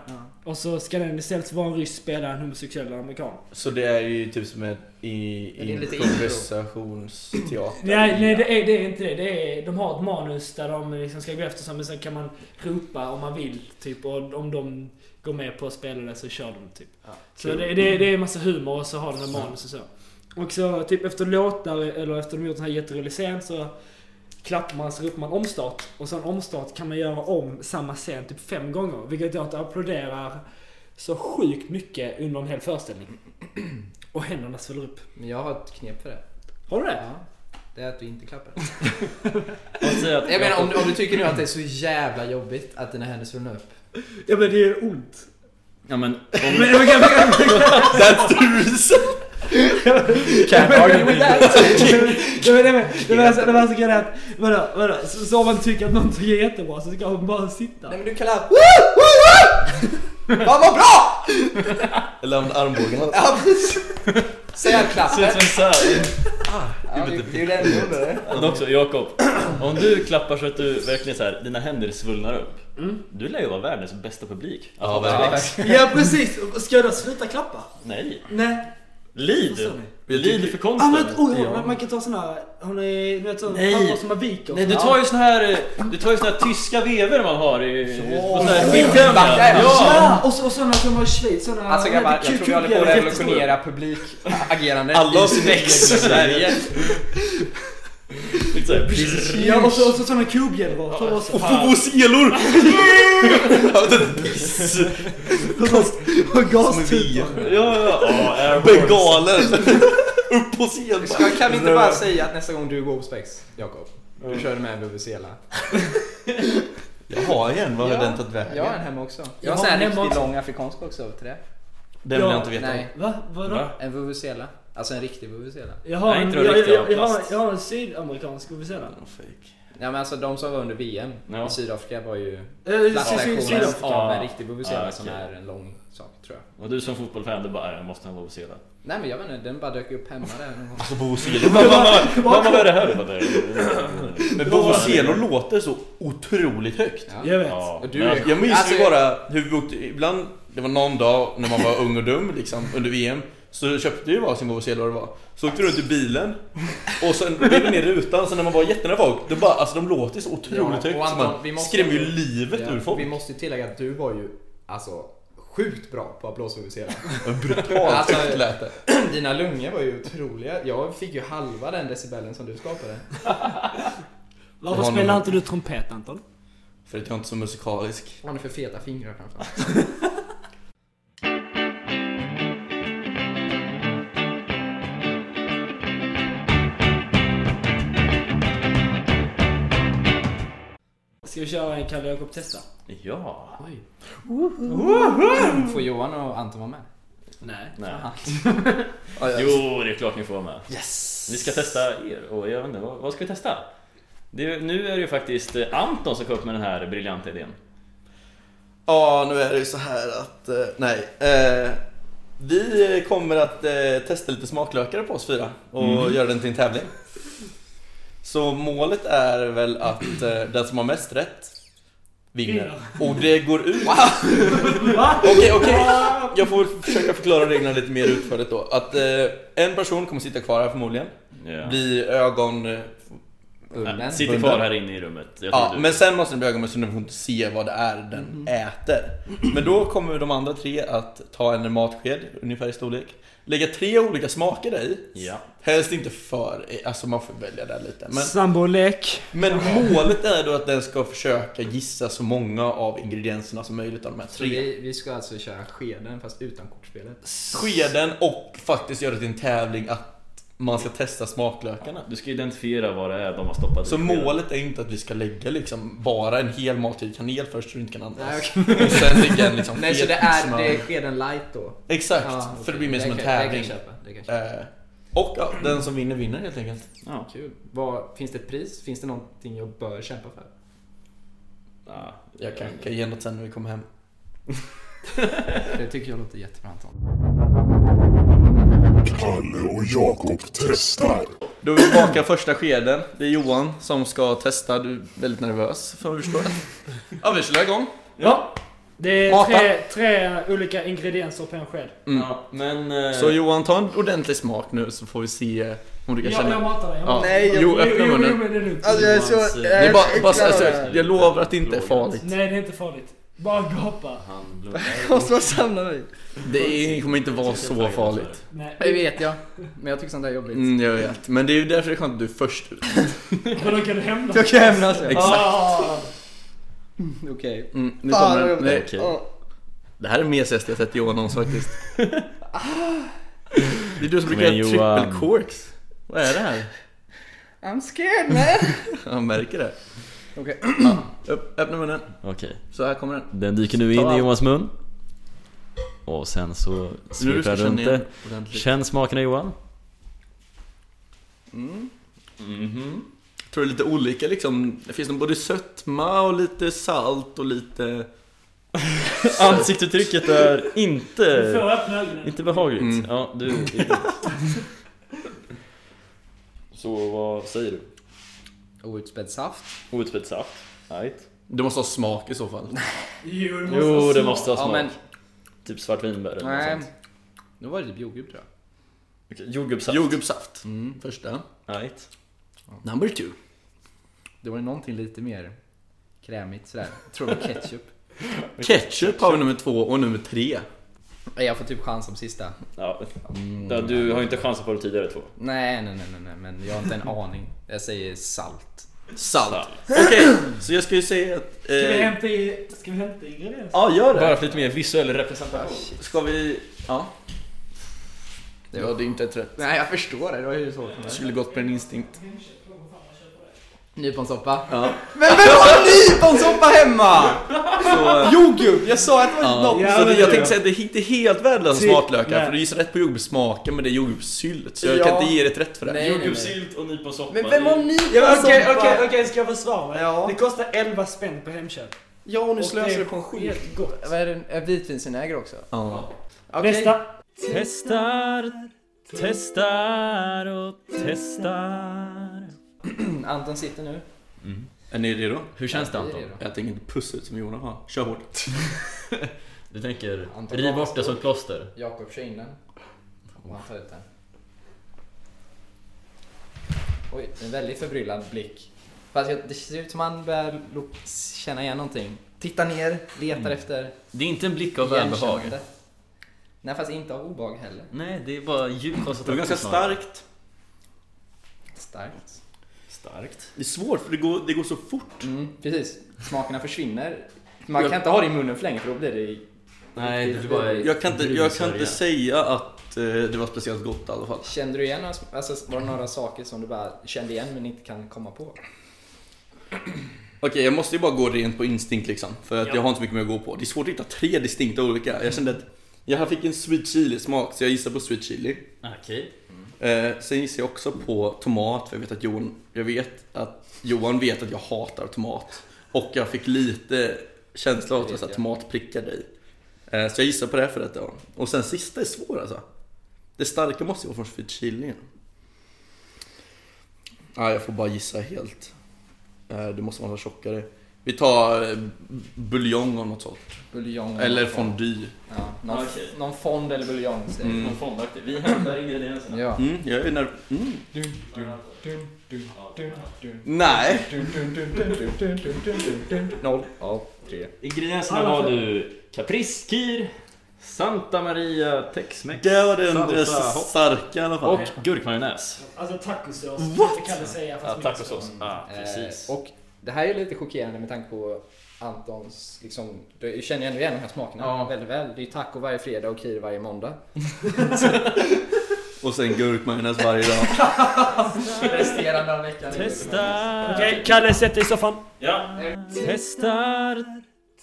C: Och så ska den istället för att vara en ryss spela en homosexuell amerikan.
D: Så det är ju typ som en i,
B: Ja, det är lite
D: improvisationsteater.
C: Nej, nej det, är, det är inte det. det är, de har ett manus där de liksom ska gå efter sig men sen kan man ropa om man vill. Typ, och om de går med på att spela det så kör de typ.
B: Ja,
C: så det, det, är- det är en massa humor och så har de en manus och så. Och så typ efter låtar eller efter de gjort den här jätterolig scen så klappar man så ropar man omstart. Och sen omstart kan man göra om samma scen typ fem gånger. Vilket gör att det applåderar så sjukt mycket under en hel föreställning. Och händerna sväller upp.
B: Men jag har ett knep för det.
C: Har du det?
B: Ja. Det är att du inte klappar.
A: Jag säger att
B: Jag menar om, du- om du tycker nu att det är så jävla jobbigt att dina händer svullnar upp.
C: Ja men det är ont.
A: Ja men... Om,
C: Men, men, men,
D: That's the reason! Can't argue with that!
C: Nej, men, nej, men, det var alltså- det var alltså grejen att, vadå, vadå, så, så om man tycker att någonting är jättebra så ska man bara sitta.
B: Nej men du kallar... Fan vad bra!
D: Eller om armbågarna.
B: Ja precis. Säg han
A: ser ut som
B: klappen.
A: en sär.
B: Ja, det det är ju det enda under.
A: Men också, Jakob. Om du klappar så att du verkligen så här, dina händer svullnar upp.
C: Mm.
A: Du lär ju vara världens bästa publik. Att
D: Ja,
A: ha på
D: verkligen.
A: spex.
C: Ja precis, ska jag då sluta klappa?
A: Nej.
C: Nej.
A: Lid.
C: Förstår ni?
A: Lid för
C: Ah,
A: konsten.
C: men, oh, ja.
A: Ja.
C: man, man kan ta såna här, har ni, ni vet såna
A: Nej.
C: pappor som har viker?
A: Nej, du tar ju såna här, eh, du tar ju såna här tyska vever man har i... På såna här
B: Åh,
A: skittävlingar.
B: backar.
A: Ja!
C: Ja, och, så, och såna som har i Schweiz, såna...
B: Alltså grabbar, jag tror vi håller på att
C: revolutionera.
B: revolutionera publikagerandet
D: Alla
B: i
D: spex i Sverige.
A: Lite så här-
C: Ja, och så, och så såna kubhjälmar. Ta oss-
D: Och Fobos elor! Ja, det-
C: Och
D: Som är vi.
C: gastubor.
A: Ja, ja, ja. Airborne.
D: Bengaler! Upp på scen!
B: Ska, kan vi inte bara säga att nästa gång du går på spex, Jakob, du körde med en vuvuzela.
D: Jag har en, vad har den tagit
B: Jag
D: vägen?
B: har en hemma också. Jag har en
C: Jag har
B: sån här
C: en hemma
B: riktigt
C: också.
B: lång afrikansk också till det.
D: Den vill jag inte veta om.
B: Nej,
C: Va? Vadå?
A: Va?
B: en vuvuzela. Alltså en riktig vuvuzela.
C: Jag har
A: Nej,
C: en,
A: inte
C: jag,
A: de
C: jag,
A: riktiga
C: jag, jag, har,
A: plast.
C: jag har en sydamerikansk ovissella.
D: Den är fake.
B: Ja men alltså de som var under VM
A: Ja.
B: i Sydafrika var ju
C: Eh, syd-
B: plastaktionen
C: Sydafrika.
B: av en riktig vuvuzela
A: Ah,
B: som
A: okej.
B: är en lång sak tror jag.
A: Och du som fotbollsfan, du bara, "Äh, jag måste ha vovvuzela.
B: Nej men jag vet inte, den bara dök upp hemma där någon gång.
D: Fobos
A: Mamma,
D: elor.
A: mamma, mamma, vad är det här? Du bara, "Nej, nej, nej."
D: Men Fobos elor låter så otroligt högt.
B: Ja.
C: Jag vet.
A: Ja,
B: Och du
A: men-
B: är-
D: Jag minns
B: Alltså,
D: ju bara hur vi åkte, ibland, det var någon dag när man var ung och dum liksom, under VM Så köpte vi varsin VHC eller vad det var Så åkte vi runt i bilen Och sen blev vi ner i rutan, så när man var jättenära folk det bara, alltså, de låter så otroligt
B: Ja, och
D: högt så
B: Anton, vi
D: man
B: måste-
D: skrämmer ju livet
B: Ja,
D: ur
B: Vi
D: folk
B: måste ju tillägga att du var ju alltså sjukt bra på att blåsa vuvuzela.
D: Brutalt
B: Alltså,
D: högt lät det
B: Dina lungor var ju otroliga. Jag fick ju halva den decibelen som du skapade.
C: Varför
D: Har ni-
C: spelar inte du trumpet Anton?
D: För att jag är inte så musikalisk
B: Han är för feta fingrar framförallt.
C: Ska vi köra en Kalle Jakob testa?
A: Ja.
B: Oj. Får Johan och Anton vara med?
C: Nej.
A: Nej.
B: Aha.
A: Jo, det är klart ni får vara med.
B: Yes!
A: Vi ska testa er och jag vet inte, vad, vad ska vi testa? Det är, nu är det ju faktiskt eh, Anton som kom upp med den här briljanta idén.
D: Ja, nu är det ju så här att... eh, Nej. Eh, vi kommer att eh, testa lite smaklökar på oss fyra och göra den till en tävling. Så målet är väl att eh, den som har mest rätt vinner. Och det går ut...
C: Va?
D: Okej, okej. Jag får väl försöka förklara reglerna lite mer utförligt då. Att eh, en person kommer sitta kvar här förmodligen.
A: Ja.
D: Bli ögon... eh,
A: Nej,
B: Ullen.
A: Sitter kvar här inne i rummet. Jag tror
D: Ja,
A: du-
D: men sen måste den bli ögonblick så den får inte se vad det är den äter. Men då kommer de andra tre att ta en matsked, ungefär i storlek. Lägga tre olika smaker där i.
A: Ja.
D: Helst inte för, alltså man får välja där lite. Men,
C: Sambolek.
D: men målet är då att den ska försöka gissa så många av ingredienserna som möjligt av de här
B: Så
D: tre.
B: vi, vi ska alltså köra skeden fast utan kortspelet.
D: Skeden och faktiskt göra det till en tävling att man ska testa smaklökarna.
A: Du ska identifiera vad det är de har stoppat i
D: Så
A: skeden.
D: målet är inte att vi ska lägga liksom bara en hel matsked kanel först så du inte kan andas.
B: Nej,
D: Och sen lägga en liksom
B: Nej så
D: fet
B: det är,
D: smör.
B: det är skeden light då?
D: Exakt,
B: Ja,
D: för
B: okej.
D: det blir mer som en
B: kan- Det kan
D: tävling.
B: jag köpa. Det kan jag köpa.
D: Eh, och ja, den som vinner vinner helt enkelt.
A: Ja.
B: Kul. Vad, finns det ett pris? Finns det någonting jag bör kämpa för?
A: Ja.
D: Jag kan, kan ge något sen när vi kommer hem.
B: Det tycker jag låter jättebra Anton.
E: Kalle och Jakob testar.
D: Då är vi tillbaka första skeden. Det är Johan som ska testa. Du är väldigt nervös för vi förstår. Ja, vi kör igång.
C: Ja. Det är
D: Mata.
C: tre, tre olika ingredienser på en sked.
D: Mm.
A: Ja, men... eh,
D: Så Johan, ta en ordentlig smak nu så får vi se om du kan
C: Jag,
D: känna.
C: jag matar dig. Jag
D: Ja.
C: matar dig.
D: Nej, jag- Jo, öppna
C: jo,
D: munnen.
C: Jo, men det är lugnt.
F: Alltså jag är
A: Johans,
F: så...
A: eh,
F: jag
D: det
F: är
D: är bara,
F: så
D: bara,
F: äcklad
D: alltså,
F: av det här.
D: jag lovar att det inte är
A: Plågan.
D: farligt.
C: Nej, det är inte farligt. Bara gapa.
A: Han blundar.
F: Jag måste bara samla mig.
D: Det är, kommer inte vara så farligt.
B: Det
C: Nej.
B: vet jag. Men jag tycker sånt där är jobbigt.
D: Mm, jag vet. Men det är ju därför det är skönt att du är först ut.
C: Men då kan du hämnas.
F: Då kan jag hämnas. ja.
D: Exakt.
C: Ah.
B: alltså. Okej.
D: Mm, nu
F: Fan,
D: kommer
F: vad
D: den.
F: jobbigt.
D: Nej,
A: okej.
F: Ja.
D: Det här är mesigaste jag sett Johan någonsin faktiskt. Det är du som
A: Kom
D: brukar göra
A: igen, Johan.
D: triple corks. Vad är det här?
F: I'm scared man.
D: Jag märker det.
F: Okej.
D: Ja, upp- öppna munnen.
A: Okej.
D: Så här kommer den.
A: Den dyker nu in i Johans mun. Och sen så
D: Nu du
A: svepar
D: ska
A: jag
D: känna
A: runt
D: igen
A: det.
D: ordentligt.
A: Känn smakerna Johan.
D: Jag tror det är lite olika liksom. Det finns nog både sötma och lite salt och lite...
A: Ansiktsuttrycket är
C: Du
A: inte...
C: får öppna ögonen.
A: Inte behagligt.
D: Mm.
A: Ja, du... så vad säger du?
B: Outspädd saft.
A: Outspädd saft? Right.
D: Du måste ha smak i så fall.
C: Jo, det måste
A: Jo,
C: vara
A: det
C: så.
A: måste ha
B: Ja
A: smak.
B: men,
A: Typ svartvinbär eller något
B: nej.
A: sånt.
B: Nu var det typ jordgubb tror jag.
A: Okej, Jordgubbssaft?
D: Jordgubbssaft. Första.
A: Right.
D: Mm. Number two.
B: Det var ju någonting lite mer krämigt sådär. Jag tror det var ketchup.
D: Ketchup har vi nummer två och nummer tre.
B: Nej, Jag får typ chans som sista.
A: Ja. Ja, du har ju inte chansen på de tidigare två.
B: Nej, nej, nej, nej, nej, men jag har inte en aning. Jag säger salt.
D: Salt.
A: Salt.
D: Okej, så jag ska ju säga att...
C: Ska vi
D: Eh,
C: hämta, i, ska vi hämta ingredienser?
D: ja, gör det.
A: Bara för lite mer visuell representation.
D: Ska vi... Ja. Det var det är inte ett rätt.
B: Nej, jag förstår det. Det var ju svårt för
D: Jag
B: mig.
D: skulle gått på en instinkt.
B: Nyponsoppa.
D: Ja.
F: Men vem har nyponsoppa hemma?
D: Så, eh,
F: Jordgubb! Jag sa att det var
D: ja.
F: något.
D: så
C: men
D: det,
C: det
D: jag
C: är
D: tänkte
C: det.
D: säga att det är inte helt värdelösa
C: Typ,
D: smaklökar
C: nej.
D: för du gissar rätt på jordgubbssmaken men det är jordgubbssylt så jag
F: Ja.
D: kan inte ge dig ett rätt för det.
B: Nej, nej, nej.
A: Jordgubbssylt och nyponsoppa.
F: Men vem Alltså, har
C: Ja,
F: nyponsoppa?
C: Okej, okej, okej, ska jag försvara mig?
F: Ja.
C: Det kostar 11 spänn på Hemköp.
F: Ja, och nu
C: Och
F: slösar
C: det
F: du
C: är
F: på en skit.
C: Helt gott.
B: Vad är det? Är Vitvinsenäger också?
D: Ja.
B: Okej.
C: Nästa.
A: Testar, testar och testar.
B: Anton sitter nu.
D: Är ni redo?
A: Hur känns det
B: Ja, det är
A: Anton?
B: det då.
D: Jag tänker inte pussa ut som Jonas har. Kör hårt.
A: Du tänker
B: Anton,
A: riv
B: vad
A: bort det som ett plåster?
B: Jakob kör in den. Och han tar ut den. Oj, en väldigt förbryllad blick. Fast jag, det ser ut som han börjar lo- känna igen någonting. Tittar ner, letar efter
A: Det är inte en blick av välbehag.
B: igenkännande. Nej, fast inte av obehag heller.
A: Nej, det är bara djup
D: Det var
A: koncentration.
D: ganska
A: snarare.
D: starkt.
B: Starkt.
A: Starkt.
D: Det är svårt för det går, det går så fort.
B: Mm, precis. Smakerna försvinner. Man kan inte ha det i munnen för länge för då blir det...
A: Nej, det
B: det
A: blir
B: blir
A: bara...
D: Jag kan inte, jag kan inte
A: brunsörja.
D: säga att eh, det var speciellt gott i alla fall.
B: Kände du igen några, sm- alltså, var det några saker som du bara kände igen men inte kan komma på?
D: Okej, jag måste ju bara gå rent på instinkt liksom. För att
C: Ja.
D: jag har inte så mycket mer att gå på. Det är svårt att hitta tre distinkta olika. Jag kände att jag fick en sweet chili smak, så jag gissar på sweet chili.
A: Okej.
D: Eh, sen gissar jag också på tomat, för jag vet att Johan, jag vet att Johan vet att jag hatar tomat. Och jag fick lite känsla av att tomat prickar dig. Eh, så jag gissar på det för detta. Och sen sista är svår alltså. Det starka måste ju vara från sweet chilin. Ah, jag får bara gissa helt. Eh, det måste vara något tjockare. Vi tar eh, buljong av något sort.
B: Buljong.
D: Eller fondue.
B: Ja, någon,
A: Okej.
B: någon fond eller buljong. säger
A: Någon fondaktig. Vi hämtar ingredienserna.
B: jag. Ja.
D: Mm, jag är när... Mm. Nej.
B: Noll av tre.
A: Ingredienserna
C: Alla
A: har
C: fem.
A: du kapriskir, Santa Maria texmex
D: Det var den eh,
A: Salsa, hopp.
D: starka i alla fall.
A: och gurkmajonnäs.
C: Alltså tacosås.
D: What?
C: Det kan du säga
A: Ja,
C: fast mindre.
A: tacosås. Ja, precis.
B: Eh, och det här är lite chockerande med tanke på Antons, liksom, du känner ju ändå igen de här smakerna
A: Ja.
B: väldigt väl. Det är ju taco varje fredag och kir varje måndag.
D: Och sen gurkmajonnäs varje dag.
B: Resterande av veckan.
A: Testar,
C: Okej, Kalle sätt dig i soffan.
A: ja. testar,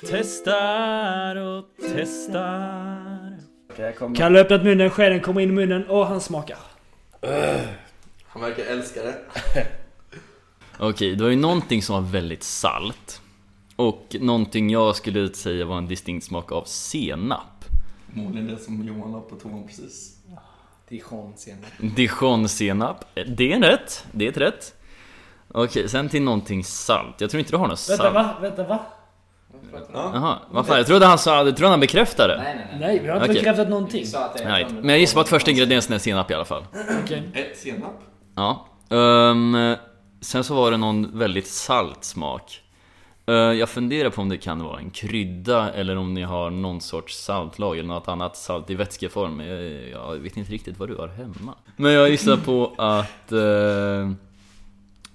A: testar och testar.
C: Kalle har öppnat munnen, skeden kommer in i munnen och han smakar.
D: Han verkar älska det.
A: Okej, det var ju någonting som var väldigt salt. Och någonting jag skulle säga var en distinkt smak av senap.
D: Förmodligen det som Johan la på toan precis.
B: Dijon senare.
A: Dijonsenap. Det är en rätt. Det är ett rätt. Okej, sen till någonting salt. Jag tror inte du har något salt.
C: Vänta va? Vänta va?
A: Jaha, vad fan, jag trodde han sa, jag trodde han bekräftade.
B: Nej, nej, nej.
C: Nej, vi har inte
A: Okej.
C: bekräftat någonting.
B: Vi sa att det är
A: Nej,
B: från-
A: men jag gissar på att första ingrediensen är senap i alla fall.
C: Okej.
D: Ett senap.
A: Ja. Ehm, sen så var det någon väldigt salt smak. Eh, jag funderar på om det kan vara en krydda eller om ni har någon sorts saltlag eller något annat salt i vätskeform. Jag, jag vet inte riktigt vad du har hemma. Men jag gissar på att, eh,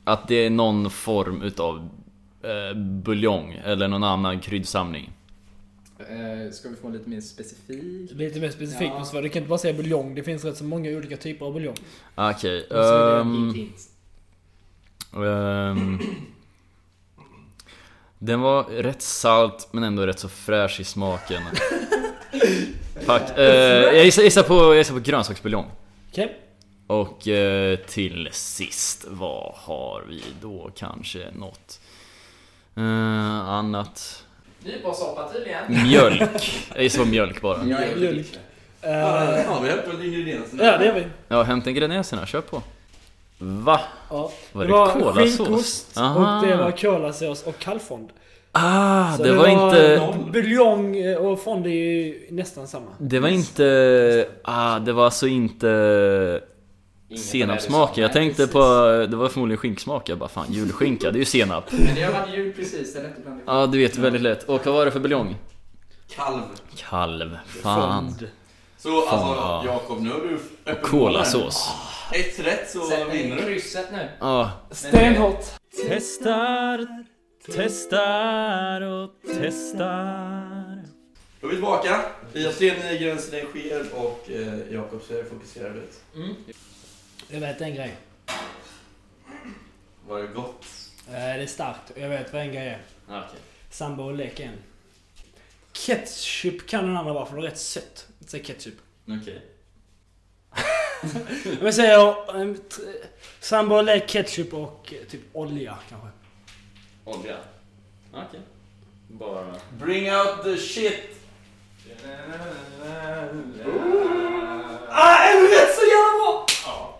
A: att det är någon form utav eh, buljong eller någon annan kryddsamling.
B: Eh, Ska vi få lite mer specifik?
C: Lite mer specifikt
B: Ja.
C: måste vara. Du kan inte bara säga buljong. Det finns rätt så många olika typer av
A: Ehm.
C: buljong.
A: Okej.
C: Och så är det
A: ehm, Ehm, den var rätt salt men ändå rätt så fräsch i smaken. Fuck. eh, jag, gissar, gissar på, jag gissar på grönsaksbuljong.
C: Okej.
A: Och eh, till sist, vad har vi då kanske något eh, annat?
B: Nyponsoppa tydligen.
A: Mjölk. Jag gissar på mjölk bara.
B: Jag är
C: Mjölk.
D: Ja,
C: Eh,
D: det har vi helt på ingredienserna.
C: Ja, det gör vi.
A: Ja, hämta ingredienserna, kör på. Va?
C: Ja.
A: Var
C: det
A: det
C: var
A: kolasås?
C: skinkost
A: Aha.
C: och det var kolasås och kallfond.
A: Ah,
C: Så
A: det, var inte...
C: Buljong och fond är ju nästan samma.
A: Det var inte... Ah, det var alltså inte...
B: Inget av det
A: Senapssmaken.
B: du sa.
A: Jag tänkte
B: Nej,
A: på... Det var förmodligen skinksmak. Jag bara fan, julskinka, det är ju senap. Ja,
B: precis. Men det har varit jul precis, det är lätt att blanda ihop.
A: ah, du vet väldigt lätt. Och vad var det för buljong?
D: Kalv.
A: Kalv. Fan.
D: Så
A: ja.
D: alltså Jakob, nu har du öppen
A: Kolasås.
D: Ett rätt så vinner
B: Sätt
D: du.
B: krysset nu.
A: Ah.
C: Stenhårt.
A: Testar, testar och testar.
D: Då är vi tillbaka. Jag ser när gränsen sker och eh, Jakob ser fokuserad ut.
C: Jag vet en grej.
D: Var det gott?
C: Eh, Det är starkt. Jag vet vad en grej är.
A: Okej.
C: Sambo och lek en. Ketchup kan den andra vara för den är rätt sött. Säg ketchup.
A: Okej.
C: Om jag säger eh, t- sambo och lek, ketchup och eh, typ olja kanske.
A: Olja. Okej. Bara...
D: Bring out the shit!
B: Ah, är du rätt så jävla bra!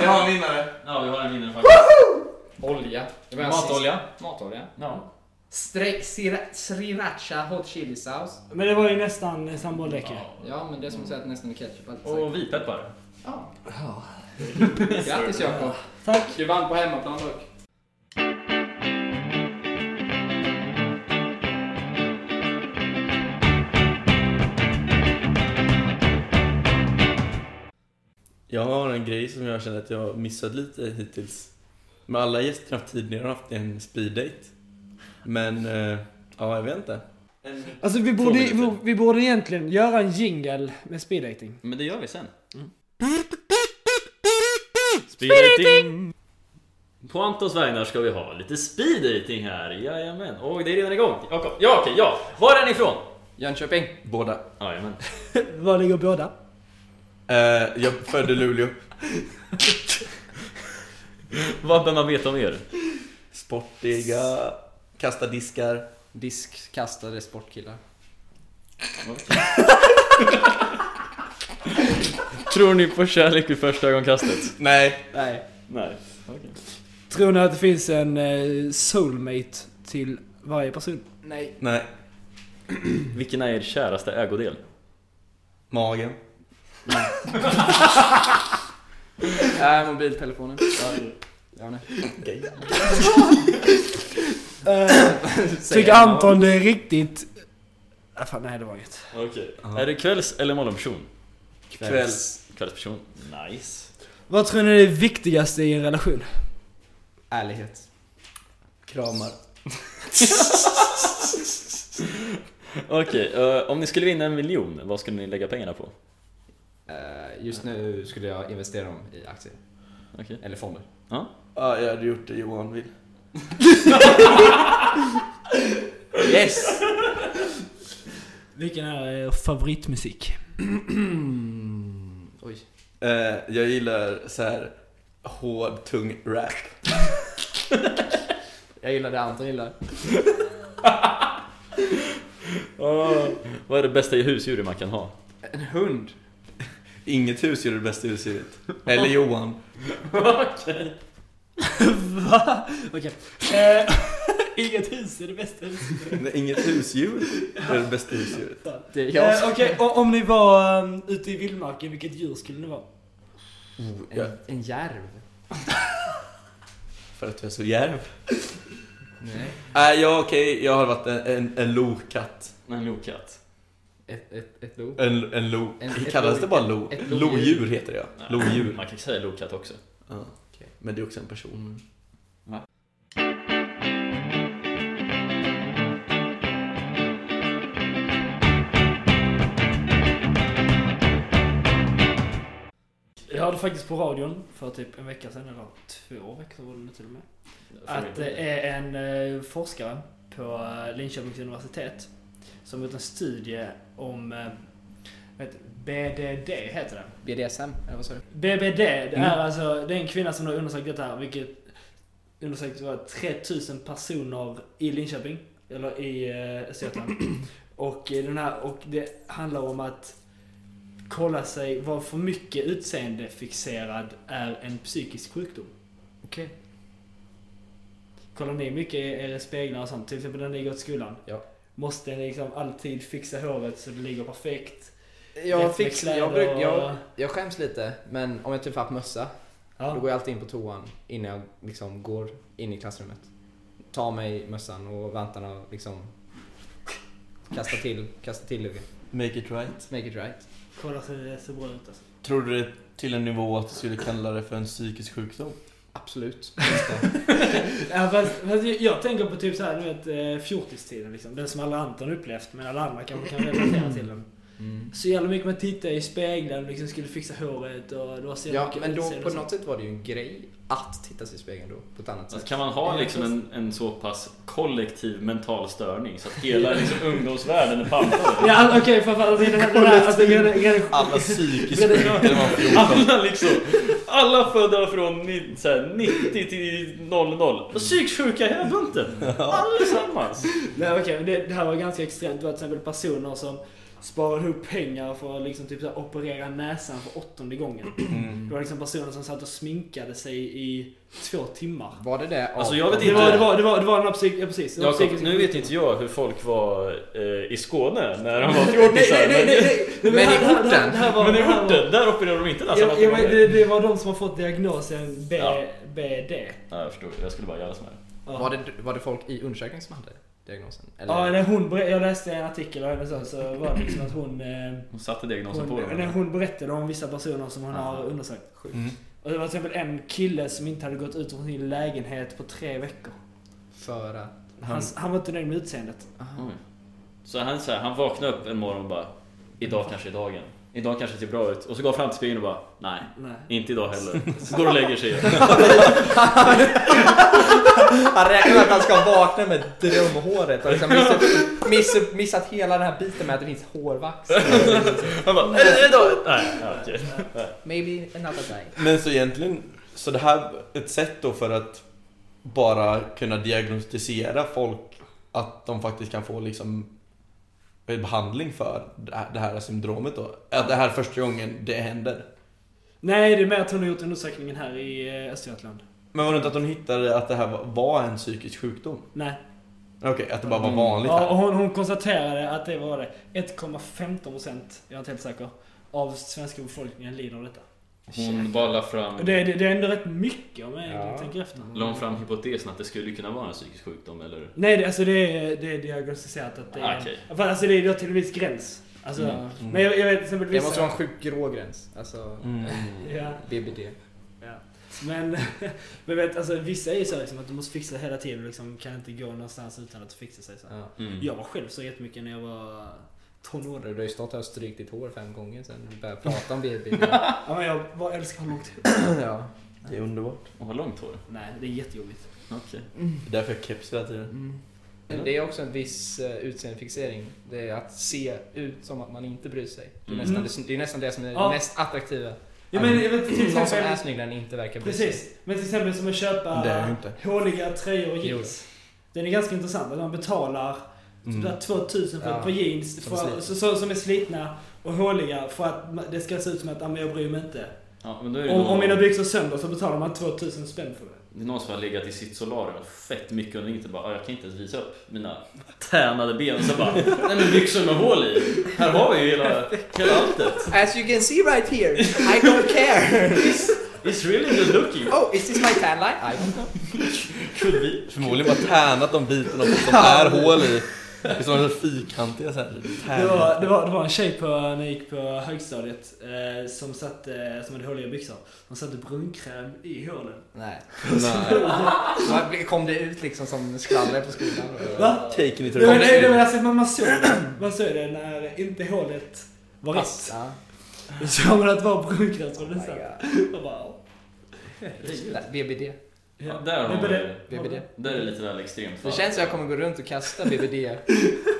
D: Vi har en vinnare.
A: Ja, vi har en vinnare faktiskt.
B: Olja. Det var en
A: Matolja.
B: sist- Matolja.
A: Ja.
B: Streck sira- sriracha hot chili saus.
C: Men det var ju nästan eh, sambo och lek ju.
B: Ja, men det är som att säga att nästan med ketchup alltid sagt.
A: Och vitpeppar.
B: Mm. Ja. Grattis Jakob.
C: Tack.
B: Du vann på hemmaplan dock.
D: Jag har en grej som jag känner att jag har missat lite hittills. Med alla gäster jag haft tidigare har jag haft en speeddate. Men, eh, ja jag vet inte.
C: Alltså vi
D: borde- vi-
C: borde egentligen göra en jingle med speeddating.
A: Men det gör vi sen. Speedating! På Antons vägnar ska vi ha lite speed dating här. Jajamän. Och det är redan igång. Jakob. Ja, okej, ja. Var är ni ifrån?
B: Jönköping.
D: Båda.
A: Jajamän.
C: Var ligger båda?
D: Eh, jag födde Luleå.
A: Vad bör man veta om er?
D: Sportiga, kasta diskar.
B: Diskkastade sportkillar.
A: Tror ni på kärlek vid första ögonkastet?
D: Nej.
B: Nej.
A: Nej.
C: Tror ni att det finns en eh, soulmate till varje person?
B: Nej.
D: Nej.
A: Vilken är er käraste ägodel?
D: Magen.
B: Äh, mobiltelefonen. Ja, nej.
C: Eh, Tycker Anton det är riktigt... Ah, fan, nej det var inget.
A: Okej. Är du kvälls eller morgonperson?
D: Kvälls.
A: Kvällsperson. Nice.
C: Vad tror ni är det viktigaste i en relation?
B: Ärlighet.
D: Kramar.
A: Okej, eh, om ni skulle vinna en miljon, vad skulle ni lägga pengarna på?
B: Eh, Just nu skulle jag investera dem i aktier.
A: Okej.
B: Eller fonder.
D: Ja, jag hade gjort det Johan vill.
B: Yes!
C: Vilken är er favoritmusik? Mm.
B: Oj.
D: Eh, jag gillar så här hård, tung rap.
B: Jag gillar det Anton gillar.
A: Ah. Vad är det bästa husdjuret man kan ha?
B: En hund.
D: Inget husdjur är det bästa husdjuret. Eller Johan.
C: Va? Okej. Eh, Inget hus är det bästa huset.
D: Nej, inget husdjur är det bästa husdjuret.
B: Det är jag.
C: Eh, Okej, och om ni var um, ute i vildmarken, vilket djur skulle ni vara?
D: Oh,
B: En, en järv.
D: För att jag är så djärv.
B: Nej.
D: Nej, ja okej, jag har varit en, en, en lokatt.
A: En lokatt.
B: Ett, ett, ett lo.
D: En, en lo...
B: En- ett
D: kallas
B: lo-
D: det bara lo?
B: ett lodjur.
D: Lodjur heter jag. Lodjur.
A: Man kan säga lokatt också.
D: Ja. Men det är också en person.
C: Jag hörde faktiskt på radion för typ en vecka sedan, eller två veckor var det nu till och med. Att det är en eh, forskare på eh, Linköpings universitet som gjort en studie om eh, vad heter det? BDD heter det.
B: BDSM, eller vad sa du?
C: BBD, det
D: Mm.
C: är alltså det är en kvinna som har undersökt detta här, vilket undersökt var 3000 personer i Linköping, eller i eh, Östergötland. och, eh, den här, och det handlar om att kolla sig vad för mycket utseendefixerad är en psykisk sjukdom.
B: Okej.
C: Kollar ni mycket i era speglar och sånt? Till exempel när ni går till skolan?
B: Ja.
C: Måste ni liksom alltid fixa håret så det ligger perfekt?
B: Jag,
C: Rätt med
B: fix, jag,
C: kläder
B: bruk,
C: och-
B: jag, jag skäms lite, men om jag typ haft mössa, då
C: Ja.
B: går jag alltid in på toan innan jag liksom går in i klassrummet. Tar mig mössan och vantarna och liksom kastar till, kastar till luven.
D: Make it right.
B: Make it right.
C: Kolla så det ser bra ut alltså.
D: Tror du det till en nivå att du skulle kalla det för en psykisk sjukdom?
B: Absolut.
C: Ja, fast, fast jag, jag tänker på typ såhär, du vet eh, fjortistiden liksom. Den som alla Anton upplevt, men alla andra kanske kan relatera till den. Så jävla mycket man tittade i spegeln och liksom skulle fixa håret och det var så jävla
B: Ja,
C: mycket
B: men då
C: utseende
B: på
C: och
B: något sätt var det ju en grej att titta sig i spegeln då, på ett annat
A: Alltså,
B: sätt.
A: kan man ha liksom en, en så pass kollektiv mental störning så att hela liksom, ungdomsvärlden är
C: sånt.
A: pantad?
C: Ja, okej, okay, för fan. Alltså, det här, det här, alltså, grejen är- grejen är-
D: Alla psykiskt sjuka när man var 14.
A: Alla liksom, alla födda från ni- så här, 90 till 00.
C: Mm.
A: Och psykiskt sjuka hela bunten. Allesammans.
C: Nej okej, men det, det här var ganska extremt. Det var till exempel personer som sparade ihop pengar för att liksom typ så här operera näsan för åttonde gången.
A: Mm.
C: Det var liksom personer som satt och sminkade sig i två timmar.
B: Var det det?
A: Alltså, jag vet
C: Det
A: inte-
C: var, det var, det var, det var den här psyk... Ja, precis. Det var
A: Jakob,
C: psykisk-
A: nu vet inte jag hur folk var eh, i Skåne när de var fjortisar.
C: Nej,
A: men-
C: nej, nej, nej,
B: Men
C: nej, det här-
B: i orten?
C: det här- det här var-
A: Men i
C: det här var-
A: orten, Alltså, där opererar de inte nästan
C: Ja,
A: åtta
C: ja, men
A: gånger.
C: det, det var de som har fått diagnosen B,
A: Ja.
C: BD.
A: Ja, jag förstår, jag skulle bara göra så här.
C: Ja.
B: Var det, var det folk i undersökningen som hade diagnosen? Eller?
C: Ja, när hon, ber- jag läste en artikel av henne så, så var det liksom att hon... Eh,
A: Hon satte diagnosen på
C: Hon, nej,
A: dem.
C: hon berättade om vissa personer som hon har undersökt.
D: Mm.
C: Och det var till exempel en kille som inte hade gått ut från sin lägenhet på tre veckor.
B: För att...
C: Han, han var inte nöjd med utseendet.
A: Mm. Oj. Så han, så här, han vaknade upp en morgon och bara Idag kanske är dagen. Idag kanske det ser bra ut. Och så går han fram till spegeln och bara nej,
C: Nej.
A: inte idag heller. Så går och lägger sig igen.
B: Han räknar med att han ska vakna med drömhåret och liksom missat, missat, missat hela den här biten med att det finns hårvax.
A: Han bara nej, nej, idag. Nej, ja, okej.
B: Maybe another day.
D: Men så egentligen, så det här ett sätt då för att bara kunna diagnostisera folk att de faktiskt kan få liksom en behandling för det här- det här syndromet då. Att det här är första gången det händer.
C: Nej, det är mer att hon har gjort undersökningen här i eh, Östergötland.
D: Men var det inte att hon hittade att det här var- var en psykisk sjukdom?
C: Nej.
D: Okej, att det bara var vanligt
C: Mm. Ja, och
D: här.
C: hon, hon konstaterade att det var det. 1,15% jag är inte helt säker. Av svenska befolkningen lider av detta.
A: Hon bara la fram,
C: Och Det, det, det är ändå rätt mycket om jag
B: Ja.
C: tänker efter.
A: la hon fram hypotesen att det skulle kunna vara en psykisk sjukdom eller?
C: Nej, det, alltså det är, det är diagnostiserat att det är...
A: Ah, okej.
C: Fan, Alltså det är då till en viss gräns. Alltså,
D: Mm.
C: Men jag, jag vet till exempel
B: Mm. Det
C: vissa...
B: måste vara en sjukt grå gräns. Alltså,
C: Mm. ja,
B: BBD.
C: ja. Men, men vet, alltså, vissa är ju så liksom, att de måste fixa hela tiden och liksom, kan inte gå någonstans utan att fixa sig. Så.
B: Ja.
A: Mm.
C: Jag var själv så jättemycket när jag var
B: Du
C: tonåring.
B: har ju stått här och strykt ditt hår fem gånger sen du började prata om BBD.
C: Ja, men jag bara älskar långt
B: ja.
D: Det är underbart.
A: Hon har långt hår.
C: Nej, det är jättejobbigt.
A: Okej.
D: Det är därför jag har keps hela tiden.
B: Men Det är också en viss eh, utseendefixering. Det är att se ut som att man inte bryr sig. Det är
C: Mm.
B: nästan det, det, är nästan det som är
C: Ja.
B: mest attraktiva.
C: Ja, men, jag vet, till
B: Någon som är
C: exempel,
B: snygg den inte verkar bry sig.
C: precis. Men till exempel som att
D: Men
C: köpa
D: det är jag ju inte.
C: håliga tröjor och jeans. Den är ganska intressant. Att man betalar
D: Mm.
C: sådär 2000 för
B: Ja,
C: ett par jeans
B: som är
C: för,
B: slitna.
C: så, så, som är slitna och håliga för att ma- det ska se ut som att ja, men jag bryr mig inte.
A: Ja, men då är det
C: Om,
A: någon,
C: om mina byxor sönder så betalar man 2000 spänn för det.
A: det är någon som har legat i sitt solarium fett mycket under vintern och bara "Ah, jag kan inte ens visa upp mina tärnade ben. Så bara, nej men byxor med hål i. Här har vi ju hela, hela alltet.
G: As you can see right here, I don't care.
A: It's really good looking.
G: Oh, is this my tan line?
B: I don't know.
D: Förmodligen bara tärnat de bitarna och fått de här hål i. Det är sådana fyrkantiga såhär.
C: Det var, det, var, det var en tjej på, när jag gick på högstadiet eh, som, satt, eh, som hade håliga byxor. Hon satte brunkräm i hålen.
B: Nej.
D: Nej.
B: Så kom det ut liksom som skvaller på skolan?
C: Va?
D: Taken it to
C: Nej, men, nej,
D: the
C: nej, men alltså, man, man, såg det, man såg det när inte hålet var rätt.
B: Ja.
C: Då såg man att det var brunkräm som
B: Oh my
C: det
B: God.
C: satt. Man bara, "Åh."
B: Nej, BBD.
A: Ja, där har
C: Men
A: vi
C: det-
A: det.
B: BBD.
A: Där är det lite väl extremt
B: Det
A: fall.
B: känns som jag kommer gå runt och kasta BBD.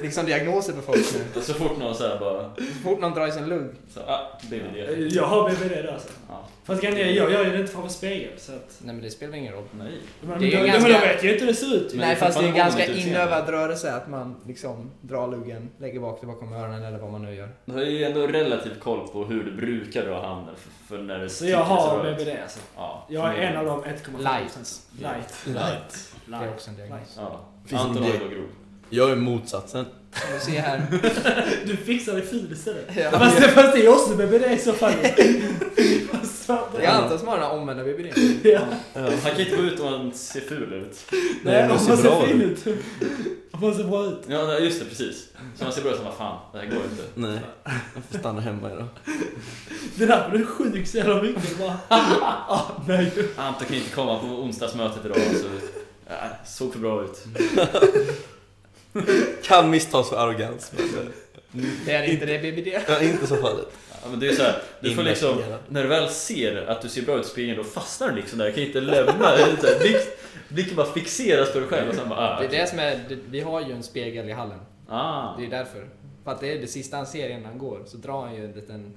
B: liksom diagnoser på folk nu.
A: Så fort någon säger bara,
B: Så fort någon drar i sin lugg.
A: så, ah, BVD.
C: Jag har BBD då alltså.
A: Ja.
C: Fast grejen är, jag gör ju det inte framför spegel så att...
B: Nej men det spelar ingen roll.
A: Nej.
C: Men,
B: Det är
C: då,
B: ganska-
C: men då vet jag ju inte hur det ser ut.
A: Men det
B: Nej
A: är
B: fast det är en
A: fortfarande
B: ganska
A: ovanligt utseende.
B: inövad rörelse att man liksom drar luggen, lägger bak det bakom öronen eller vad man nu gör.
A: Du har ju ändå relativt koll på hur du brukar dra handen för, för när det
C: Så jag har BBD alltså.
A: Ja.
C: Jag är en av de 1,5
B: Light.
C: procent. Light.
D: Light.
B: Det är också en diagnos.
C: Light.
A: Ja.
D: Finns
A: Anton
D: det-
A: har ju då grov.
D: Jag är motsatsen.
B: Som du ser här.
C: Du fixar dig ful istället.
B: Ja.
C: Fast det, fast det är också BBD i så fall. Fast fan,
B: Det är Anton som har den här omvända BBD.
C: Ja.
A: Han kan inte gå ut om han ser ful ut.
C: Nej,
D: men
C: om
D: det
C: man
D: ser
C: ser
D: bra
C: fin ut. Om man ser bra ut.
A: Ja, nej, just det, precis. Så han ser bra ut som vad fan, det här går inte.
D: Nej. Jag får stanna hemma idag.
C: Det där blev sjuk så jävla mycket. Bara, ah, nej.
A: Anton kan inte komma på onsdagsmötet idag. Så, äh, såg för bra ut.
D: Kan misstas för arrogans. Men
B: Det är inte det BBD.
D: jag är inte så fallet.
A: Ja, men det är så här, du får liksom,
D: Inverterad.
A: när du väl ser att du ser bra ut i spegeln, då fastnar du liksom där. Du kan inte lämna. Det är så här, Blick, blicken bara fixeras på dig själv och sen bara ah,
B: Det är det som är, det- vi har ju en spegel i hallen.
A: ah,
B: Det är därför. För att det är det sista han ser innan han går så drar han ju en liten,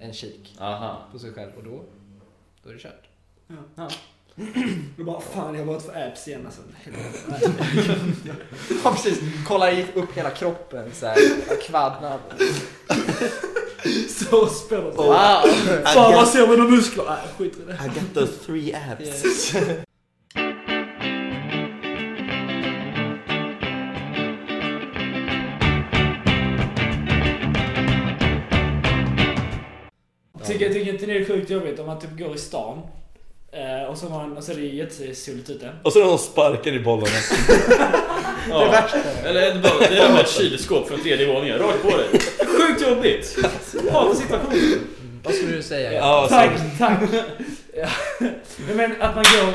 B: en kik
A: aha.
B: på sig själv och då, då är det kört.
C: Då bara, fan jag har varit för abs igen alltså.
B: Ja precis, kollar upp hela kroppen såhär, kvaddnad.
C: Så spelar det.
B: Wow!
C: Fan vad ser mina muskler? Nej, skit i det.
D: I got those three abs.
C: Tycker, tycker inte ni det är sjukt jobbigt om man typ går i stan eh, och så, har man, och så är det jättesoligt ute?
D: Och så är det någon som sparkar i bollarna.
A: Ja. Eller det är bara, det är bara ett kylskåp från tredje våningen, rakt på dig. Sjukt jobbigt! Hatar situationen.
B: Vad skulle du säga?
D: Ja, så-
C: tack, tack! Ja. Men att man går...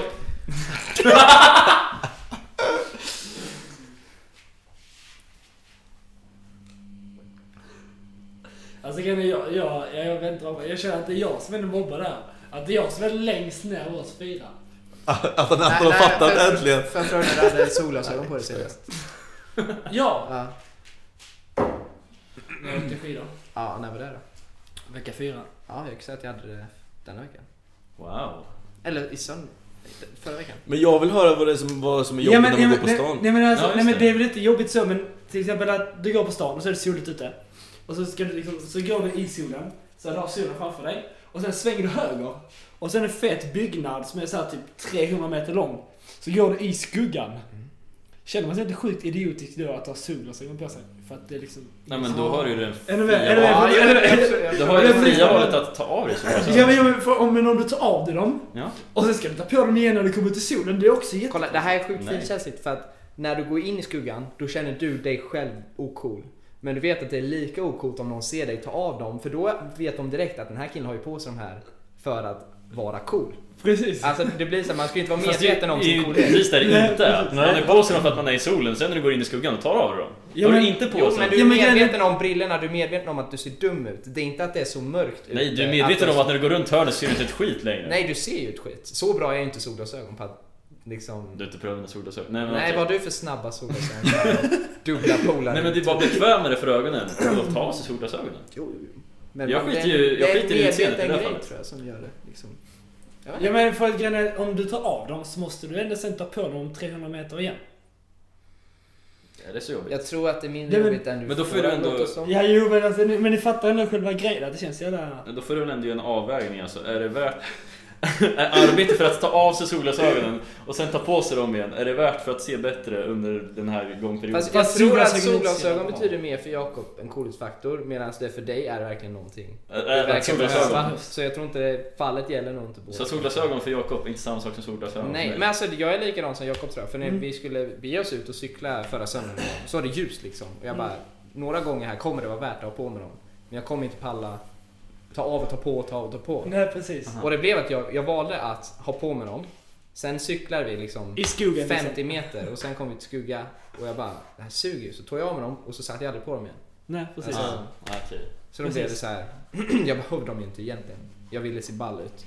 C: Alltså grejen är, jag, jag, jag, jag vet inte vad, jag känner att det är jag som är den mobbade här. Att det är jag som är längst ner av oss fyra.
D: Att han, att han har fattat
B: för-
D: äntligen.
B: För Frölunda hade solglasögon på dig senast.
C: Ja!
B: Ja,
C: Jag åkte skidor.
B: ja när var det då?
C: Vecka fyra.
B: Ja, jag kan säga att jag hade det denna veckan.
A: Wow.
B: Eller i söndag. Förra veckan.
D: Men jag vill höra vad det är som, vad som är jobbigt när man går på stan.
C: Nej men, alltså,
A: Ja, just
C: nej, men
A: det.
C: det är väl inte jobbigt så men till exempel att du går på stan och så är det soligt ute. Och så, ska du liksom, så går du i solen, så du har solen framför dig. Och sen svänger du höger. Och sen en fet byggnad som är så här typ 300 meter lång. Så går du i skuggan. Känner man sig inte sjukt idiotisk då att ha solglasögon på sig? För att det är liksom...
A: Nej men då har du ju den
C: Är du med? Är du
A: Ja,
C: med? Är du med? Är du med?
A: Du har ju det
C: Jag blir-
A: fria valet att ta av dig
C: Ja,
A: solglasögonen.
C: men, ja, men, för, om, men om du tar av dig dem
A: Ja.
C: och sen ska du ta på dem igen när du kommer ut i solen. Det är också jätte...
B: Kolla, det här är sjukt
A: Nej.
B: finkänsligt för att när du går in i skuggan, då känner du dig själv ocool. Men du vet att det är lika ocoolt om någon ser dig ta av dem, för då vet de direkt att den här killen har ju på sig de här för att vara cool.
C: Precis.
B: Alltså det blir så här, man ska ju inte vara
A: Fast det
B: medveten om
A: är
B: sin
A: ju
B: coolhet.
A: precis där det inte är. Man
D: Nej.
A: har på sig dem för att man är i solen, sen när du går in i skuggan och tar av dig dem.
C: Ja,
A: har du
C: men-
A: inte på
B: Jo
A: sig
B: men
A: dem.
B: du är
C: men grejen är-
B: medveten om brillorna, du är medveten om att du ser dum ut. Det är inte att det är så mörkt
A: Nej, du är
B: ute,
A: medveten
B: du-
A: om att när du går runt hörnet ser du inte ett skit längre.
B: Nej du ser ju ett skit. Så bra är ju inte solglasögon på att liksom...
A: Du har inte prövat dina solglasögon. Nej men,
B: Nej
A: okej.
B: vad har du för snabba solglasögon? Dubbla polare.
A: Nej men det är bara bekvämare för ögonen att ta av sig solglasögonen.
B: Jo, jo, jo. Men
A: Jag
B: men
A: skiter
B: det-
A: ju- jag
B: det är
A: skiter i utseendet i
B: en
A: det här
B: grej,
A: fallet.
B: tror jag som gör det. Liksom.
C: Ja men för att grejen är, om du tar av dem så måste du ändå sen ta på dem 300 meter igen.
A: Är det så jobbigt?
B: Jag tror att det är mindre
C: Nej, men-
B: jobbigt än du
A: men då får du ändå-
B: låter som.
C: Ja jo men alltså, ni- men ni fattar ändå själva grejen att det känns jävla...
A: Men Då får du väl ändå göra en avvägning alltså. Är det värt... är arbete för att ta av sig solglasögonen och sen ta på sig dem igen, är det värt för att se bättre under den här gångperioden?
B: Fast jag
C: Fast
B: tror att
C: solglasögon inte
B: solglasögon
C: ser-
B: betyder mer för Jakob än coolhetsfaktor medan det för dig är verkligen någonting.
A: Är-
B: Det
A: är det
B: verkar
A: solglasögon?
B: behöva, så jag tror inte fallet gäller nog inte båda.
A: Så solglasögon för Jakob är inte samma sak som solglasögon
B: Nej,
A: för
B: men
A: mig?
B: alltså jag är likadan som Jakob tror jag. För när
C: Mm.
B: vi skulle bege oss ut och cykla förra söndagen så var det ljust liksom. Och
C: Mm.
B: jag bara, några gånger här kommer det vara värt att ha på mig dem. Men jag kommer inte palla ta av och ta på och ta av och ta på.
C: Nej precis.
B: Och det blev att jag, jag valde att ha på mig dem. Sen cyklar vi liksom
C: I skogen
B: 50 meter och sen kom vi till skugga och jag bara, det här suger ju. Så tog jag av mig dem och så satte jag aldrig på dem igen.
C: Nej precis.
B: Alltså,
A: Ah, okej.
B: Så då blev det så här. jag behövde dem ju inte egentligen. Jag ville se ball ut.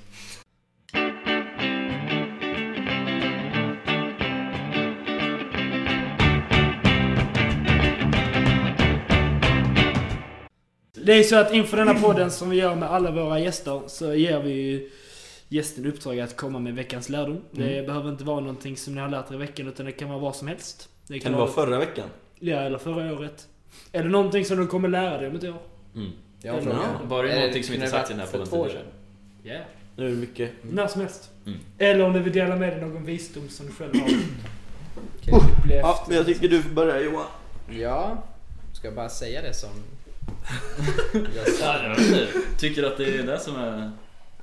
C: Det är ju så att inför denna podden som vi gör med alla våra gäster så ger vi ju gästen i uppdrag att komma med veckans lärdom. Det behöver inte vara någonting som ni har lärt er i veckan utan det kan vara vad som helst. Det
D: Kan det vara förra veckan?
C: Ja, eller förra året. Eller någonting som du kommer lära dig om ett år.
B: Jag
C: Ja,
A: Var det
B: Eller,
A: någonting som inte sagts i
B: kunde varit
A: den här
B: för
A: podden
B: två år
A: tidigare?
C: Yeah.
D: Nu är det mycket.
C: När som helst.
A: Mm.
C: Eller om du vill dela med dig någon visdom som du själv
D: Mm.
C: har
B: sedan. Okej.
C: upplevt.
D: Ja, men jag tycker du får börja Johan.
B: Ja, ska jag bara säga det som... jag,
A: Ja, jag vet inte. Tycker att det är det som är...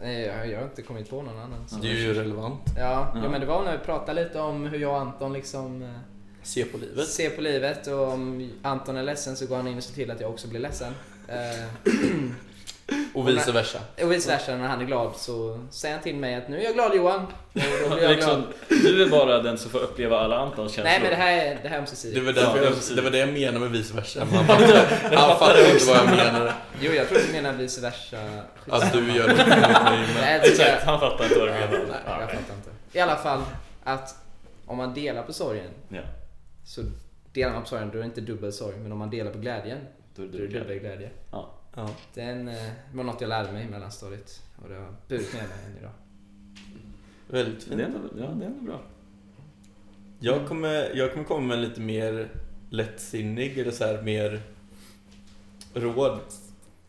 B: nej, jag, jag har inte kommit på någon annan. Så.
D: Det är ju relevant.
B: Ja,
A: Ja.
B: ja, men det var när vi pratade lite om hur jag och Anton liksom eh,
D: Se på livet.
B: ser på livet och om Anton är ledsen så går han in och ser till att jag också blir ledsen. Eh,
D: Och vice versa.
B: och vice versa, när han är glad så säger han till mig att nu är jag glad Johan. Och då blir jag
A: Liksom,
B: glad.
A: du är bara den som får uppleva alla Antons känslor.
B: Nej men det här är, det här är
D: Det
B: ömsesidigt.
D: var, därför
A: Ja,
D: jag,
A: precis.
D: det var det jag menade med vice versa. Man fattar, han fattar inte vad jag menade.
B: Jo, jag tror du menar vice versa.
D: Att du gör det. Men-
B: Nej, det ska jag-
A: Exakt, han fattar inte vad du menar.
B: Nej,
A: Ja,
B: jag fattar inte. I alla fall att om man delar på sorgen
A: Ja.
B: så delar man på sorgen, då är det inte dubbel sorg. Men om man delar på glädjen,
A: Då är
B: då är
A: du
B: det dubbel
A: glad.
B: glädje.
A: Ja.
D: Ja.
B: Den eh, var något jag lärde mig i mellanstadiet och det har burit med mig än idag.
D: Väldigt
A: Det är
D: fint.
A: ändå, ja, det är ändå bra.
D: Jag kommer, jag kommer komma med en lite mer lättsinnig eller så här mer råd.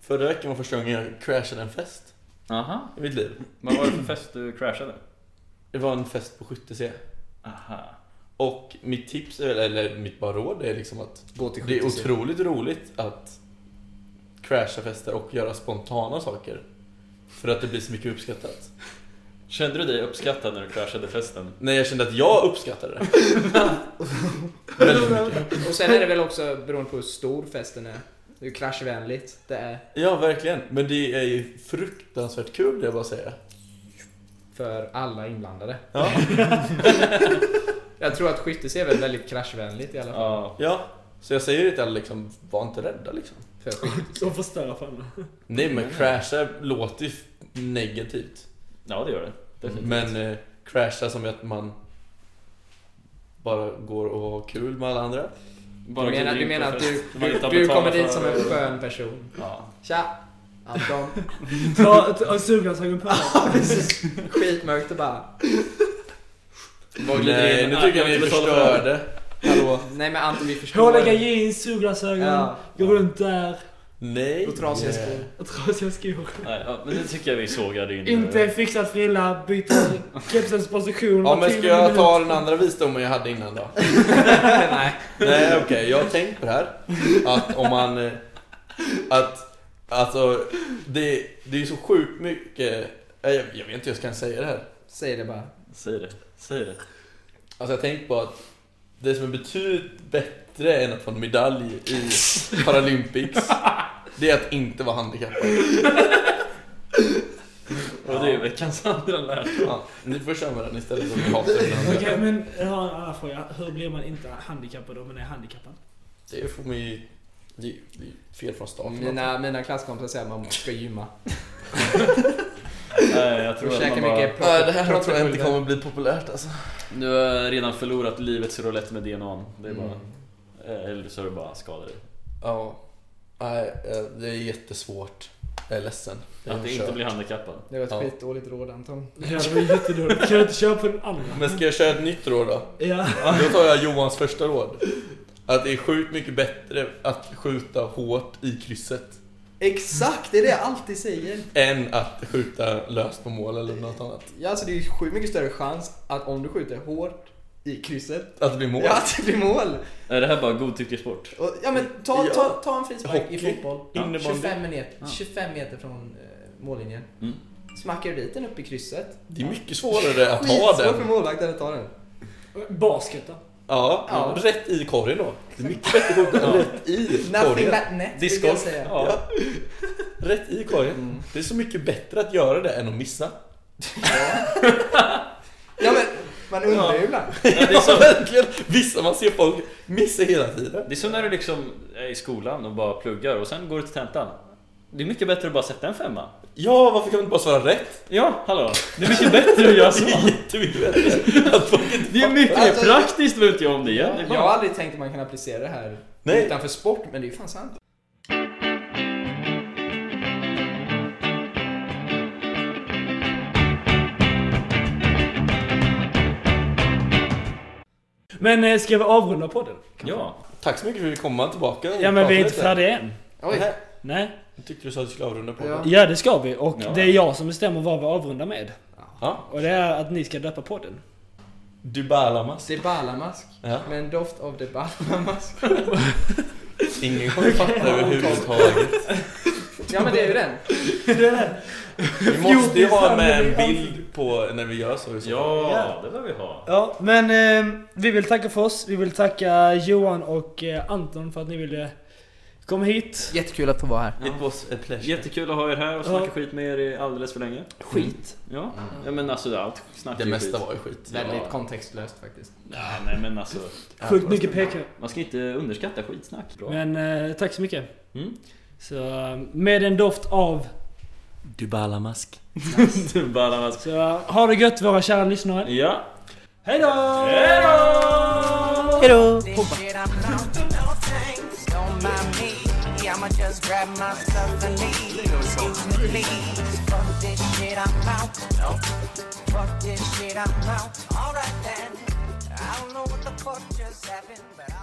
D: Förra veckan var första gången jag crashade en fest
A: Aha.
D: i mitt liv.
A: Vad var det för fest du crashade?
D: Det var en fest på 70C.
A: Aha.
D: Och mitt tips, är- eller mitt bara råd är liksom att
B: Gå till
D: det är
B: 70.
D: otroligt roligt att crasha fester och göra spontana saker. För att det blir så mycket uppskattat.
A: Kände du dig uppskattad när du crashade festen?
D: Nej, jag kände att jag uppskattade det. Väldigt mycket.
B: Och sen är det väl också beroende på hur stor festen är. Hur kraschvänligt det är
D: Ja, verkligen. Men det är ju fruktansvärt kul det jag bara säger.
B: för alla inblandade.
D: Ja.
B: Jag tror att skyttes är väl väldigt kraschvänligt i alla fall.
A: Ja.
D: ja. Så jag säger det till alla liksom, var inte rädda liksom.
B: För skit.
C: De förstör för andra.
D: Nej men crasha låter ju negativt.
A: Ja, det gör det. Definitivt.
D: Men eh, crasha som att man bara går och har kul med alla andra.
A: Bara
B: Du menar,
A: glider
B: du
A: in på
B: menar att
A: fest.
B: du,
A: Man
B: du,
A: inte har
B: du
A: betalat
B: kommer
A: för-
B: dit som en skön person?
A: Ja.
B: Tja! Anton.
C: Ta ta- suglasögon på dig.
B: Skitmörkt och bara...
D: Bara glider
A: Nej,
D: in.
A: nu
D: Nu
A: tycker
D: tycker
A: jag
D: jag
A: ni
D: ni
A: förstörde.
D: förstörde.
B: Hallå? Nej men Anton vi förstår.
C: Pålägga jeans, suglasögon,
B: Ja.
C: gå runt där
D: Nej. Eh,
B: Och trasiga skor.
C: och trasiga skor.
A: Nej, ja, men det tycker jag vi sågade in.
C: Inte fixad frilla, byter kepsens position.
D: Ja
C: var
D: men ska
C: tionde
D: jag
C: minut.
D: ta den andra visdomen jag hade innan då?
B: Nej.
D: Nej okej, jag har tänkt på det här. Att om man... eh, Att... Alltså, det, det är ju så sjukt mycket... Nej, Jag, jag vet inte hur jag ska säga det här.
B: Säg det bara.
A: Säg det. Säg det.
D: Alltså jag tänkte på att det som är betydligt bättre än att få en medalj i Paralympics, det är att inte vara handikappad.
A: Och det är veckans andra lärdom.
D: Ja, ni får köra med den istället om ni hatar
C: Okej,
D: den.
C: men jag har en annan fråga. Hur blir man inte handikappad om man är handikappad?
D: Det får man ju... Det är det är fel från starten.
B: Mina, mina klasskompisar säger att man ska gymma.
A: Nej, jag tror
B: Och
A: att
B: käka
A: man bara...
B: mycket
D: Nej, det här tror jag inte
B: proteinpulver.
D: kommer bli populärt alltså.
A: Du har redan förlorat livets roulette med DNA. Det är
B: Mm.
A: bara... eh, Eller så är det bara skadar dig.
D: Ja. Nej, eh, det är jättesvårt. Jag är ledsen. Jag
A: Att det inte
D: kör.
A: blir handikappad.
B: Det var ett
D: Ja.
B: skitdåligt råd Anton.
C: Ja, det var jättedåligt. Kan du inte köpa den andra?
D: Men ska jag köra ett nytt råd då?
C: Ja.
D: Då tar jag Johans första råd. Att det är sjukt mycket bättre att skjuta hårt i krysset
B: Exakt, det är det jag alltid säger.
D: än att skjuta löst på mål eller något annat.
B: Ja, alltså det är ju sjukt mycket större chans att om du skjuter hårt i krysset,
D: Att det blir mål.
B: ja att det blir mål.
A: Är det här bara godtycklig sport?
B: Och, ja men ta,
D: Ja.
B: ta, ta en frispark i
D: Hockey.
B: fotboll.
D: Innebandy.
B: 25 meter, 25 meter från eh, mållinjen.
A: Mm.
B: Smackar du dit den upp i krysset?
D: Det är mycket svårare att ha
B: Skitsvårt för
D: den.
B: målvakten att ta den.
C: Basket då?
D: Ja,
B: Ja.
D: rätt i korgen då. Det är mycket bättre att skjuta rätt i
B: Nothing
D: korgen.
B: but net, brukar jag
D: Discgolf.
B: säga.
D: Ja. Rätt i korgen. Det är så mycket bättre att göra det än att missa.
B: Ja men, man undrar ju ibland.
A: Ja, det, är
D: Ja,
A: som,
D: verkligen. Vissa man ser folk missa hela tiden.
A: det är som när du liksom är i skolan och bara pluggar och sen går du till tentan. Det är mycket bättre att bara sätta en femma.
D: Ja, varför kan man inte bara svara rätt?
A: Ja, hallå! Det är mycket bättre att göra så.
D: Jättemycket bättre. Att folk inte...
A: Det är mycket mer
B: Alltså-
A: praktiskt, vet jag om det är. det är
B: Jag
A: bara...
B: har aldrig tänkt att man kan applicera det här
D: Nej.
B: utanför sport, men det är ju fan sant.
C: Men eh, ska vi avrunda podden?
A: ja.
D: Tack så mycket för att vi komma tillbaka. och
C: Ja, men vi är
D: prata
C: inte
D: lite.
C: färdiga än.
B: Oj,
C: Nej.
D: Jag tyckte du sa att du skulle avrunda på
B: Ja.
D: det.
C: Ja, det ska vi. Och
A: Ja.
C: det är jag som bestämmer vad vi avrundar med.
D: Ja.
C: Och det är att ni ska döpa podden.
D: Du Balamas.
B: det är balamask.
D: Ja.
B: Med en doft av det balamask.
D: Ingen kommer fatta överhuvudtaget.
B: Ja men det är ju den.
D: Vi måste ju ha med en bild på när vi gör så. i så fall.
A: Ja, det behöver vi ha.
C: Ja, men eh, vi vill tacka för oss. Vi vill tacka Johan och eh, Anton för att ni ville komma hit.
B: Jättekul att få vara här.
D: It was a pleasure.
A: Jättekul att ha er här och
C: Ja.
A: snacka skit med er i alldeles för länge.
C: Skit.
A: Ja, ja men alltså allt snack
D: Det
A: är ju
D: mesta
A: skit.
D: var ju skit.
B: Väldigt kontextlöst faktiskt.
A: Ja, nej men alltså,
C: Sjukt mycket pekar.
A: man ska inte underskatta skitsnack. Bra.
C: Men eh, tack så mycket.
A: Mm.
C: Så eh, med en doft av...
D: Du Balamask.
A: Bara-
C: Så eh, ha det gött våra kära lyssnare.
A: ja.
C: Hej då!
H: This shit I'm known to no thanks. Don't mind me. Yeah, I'ma just grab my stuff and leave. Excuse me, please. Fuck this shit, I'm out. No. Fuck this shit, I'm out. Alright then. I don't know what the fuck just happened, but I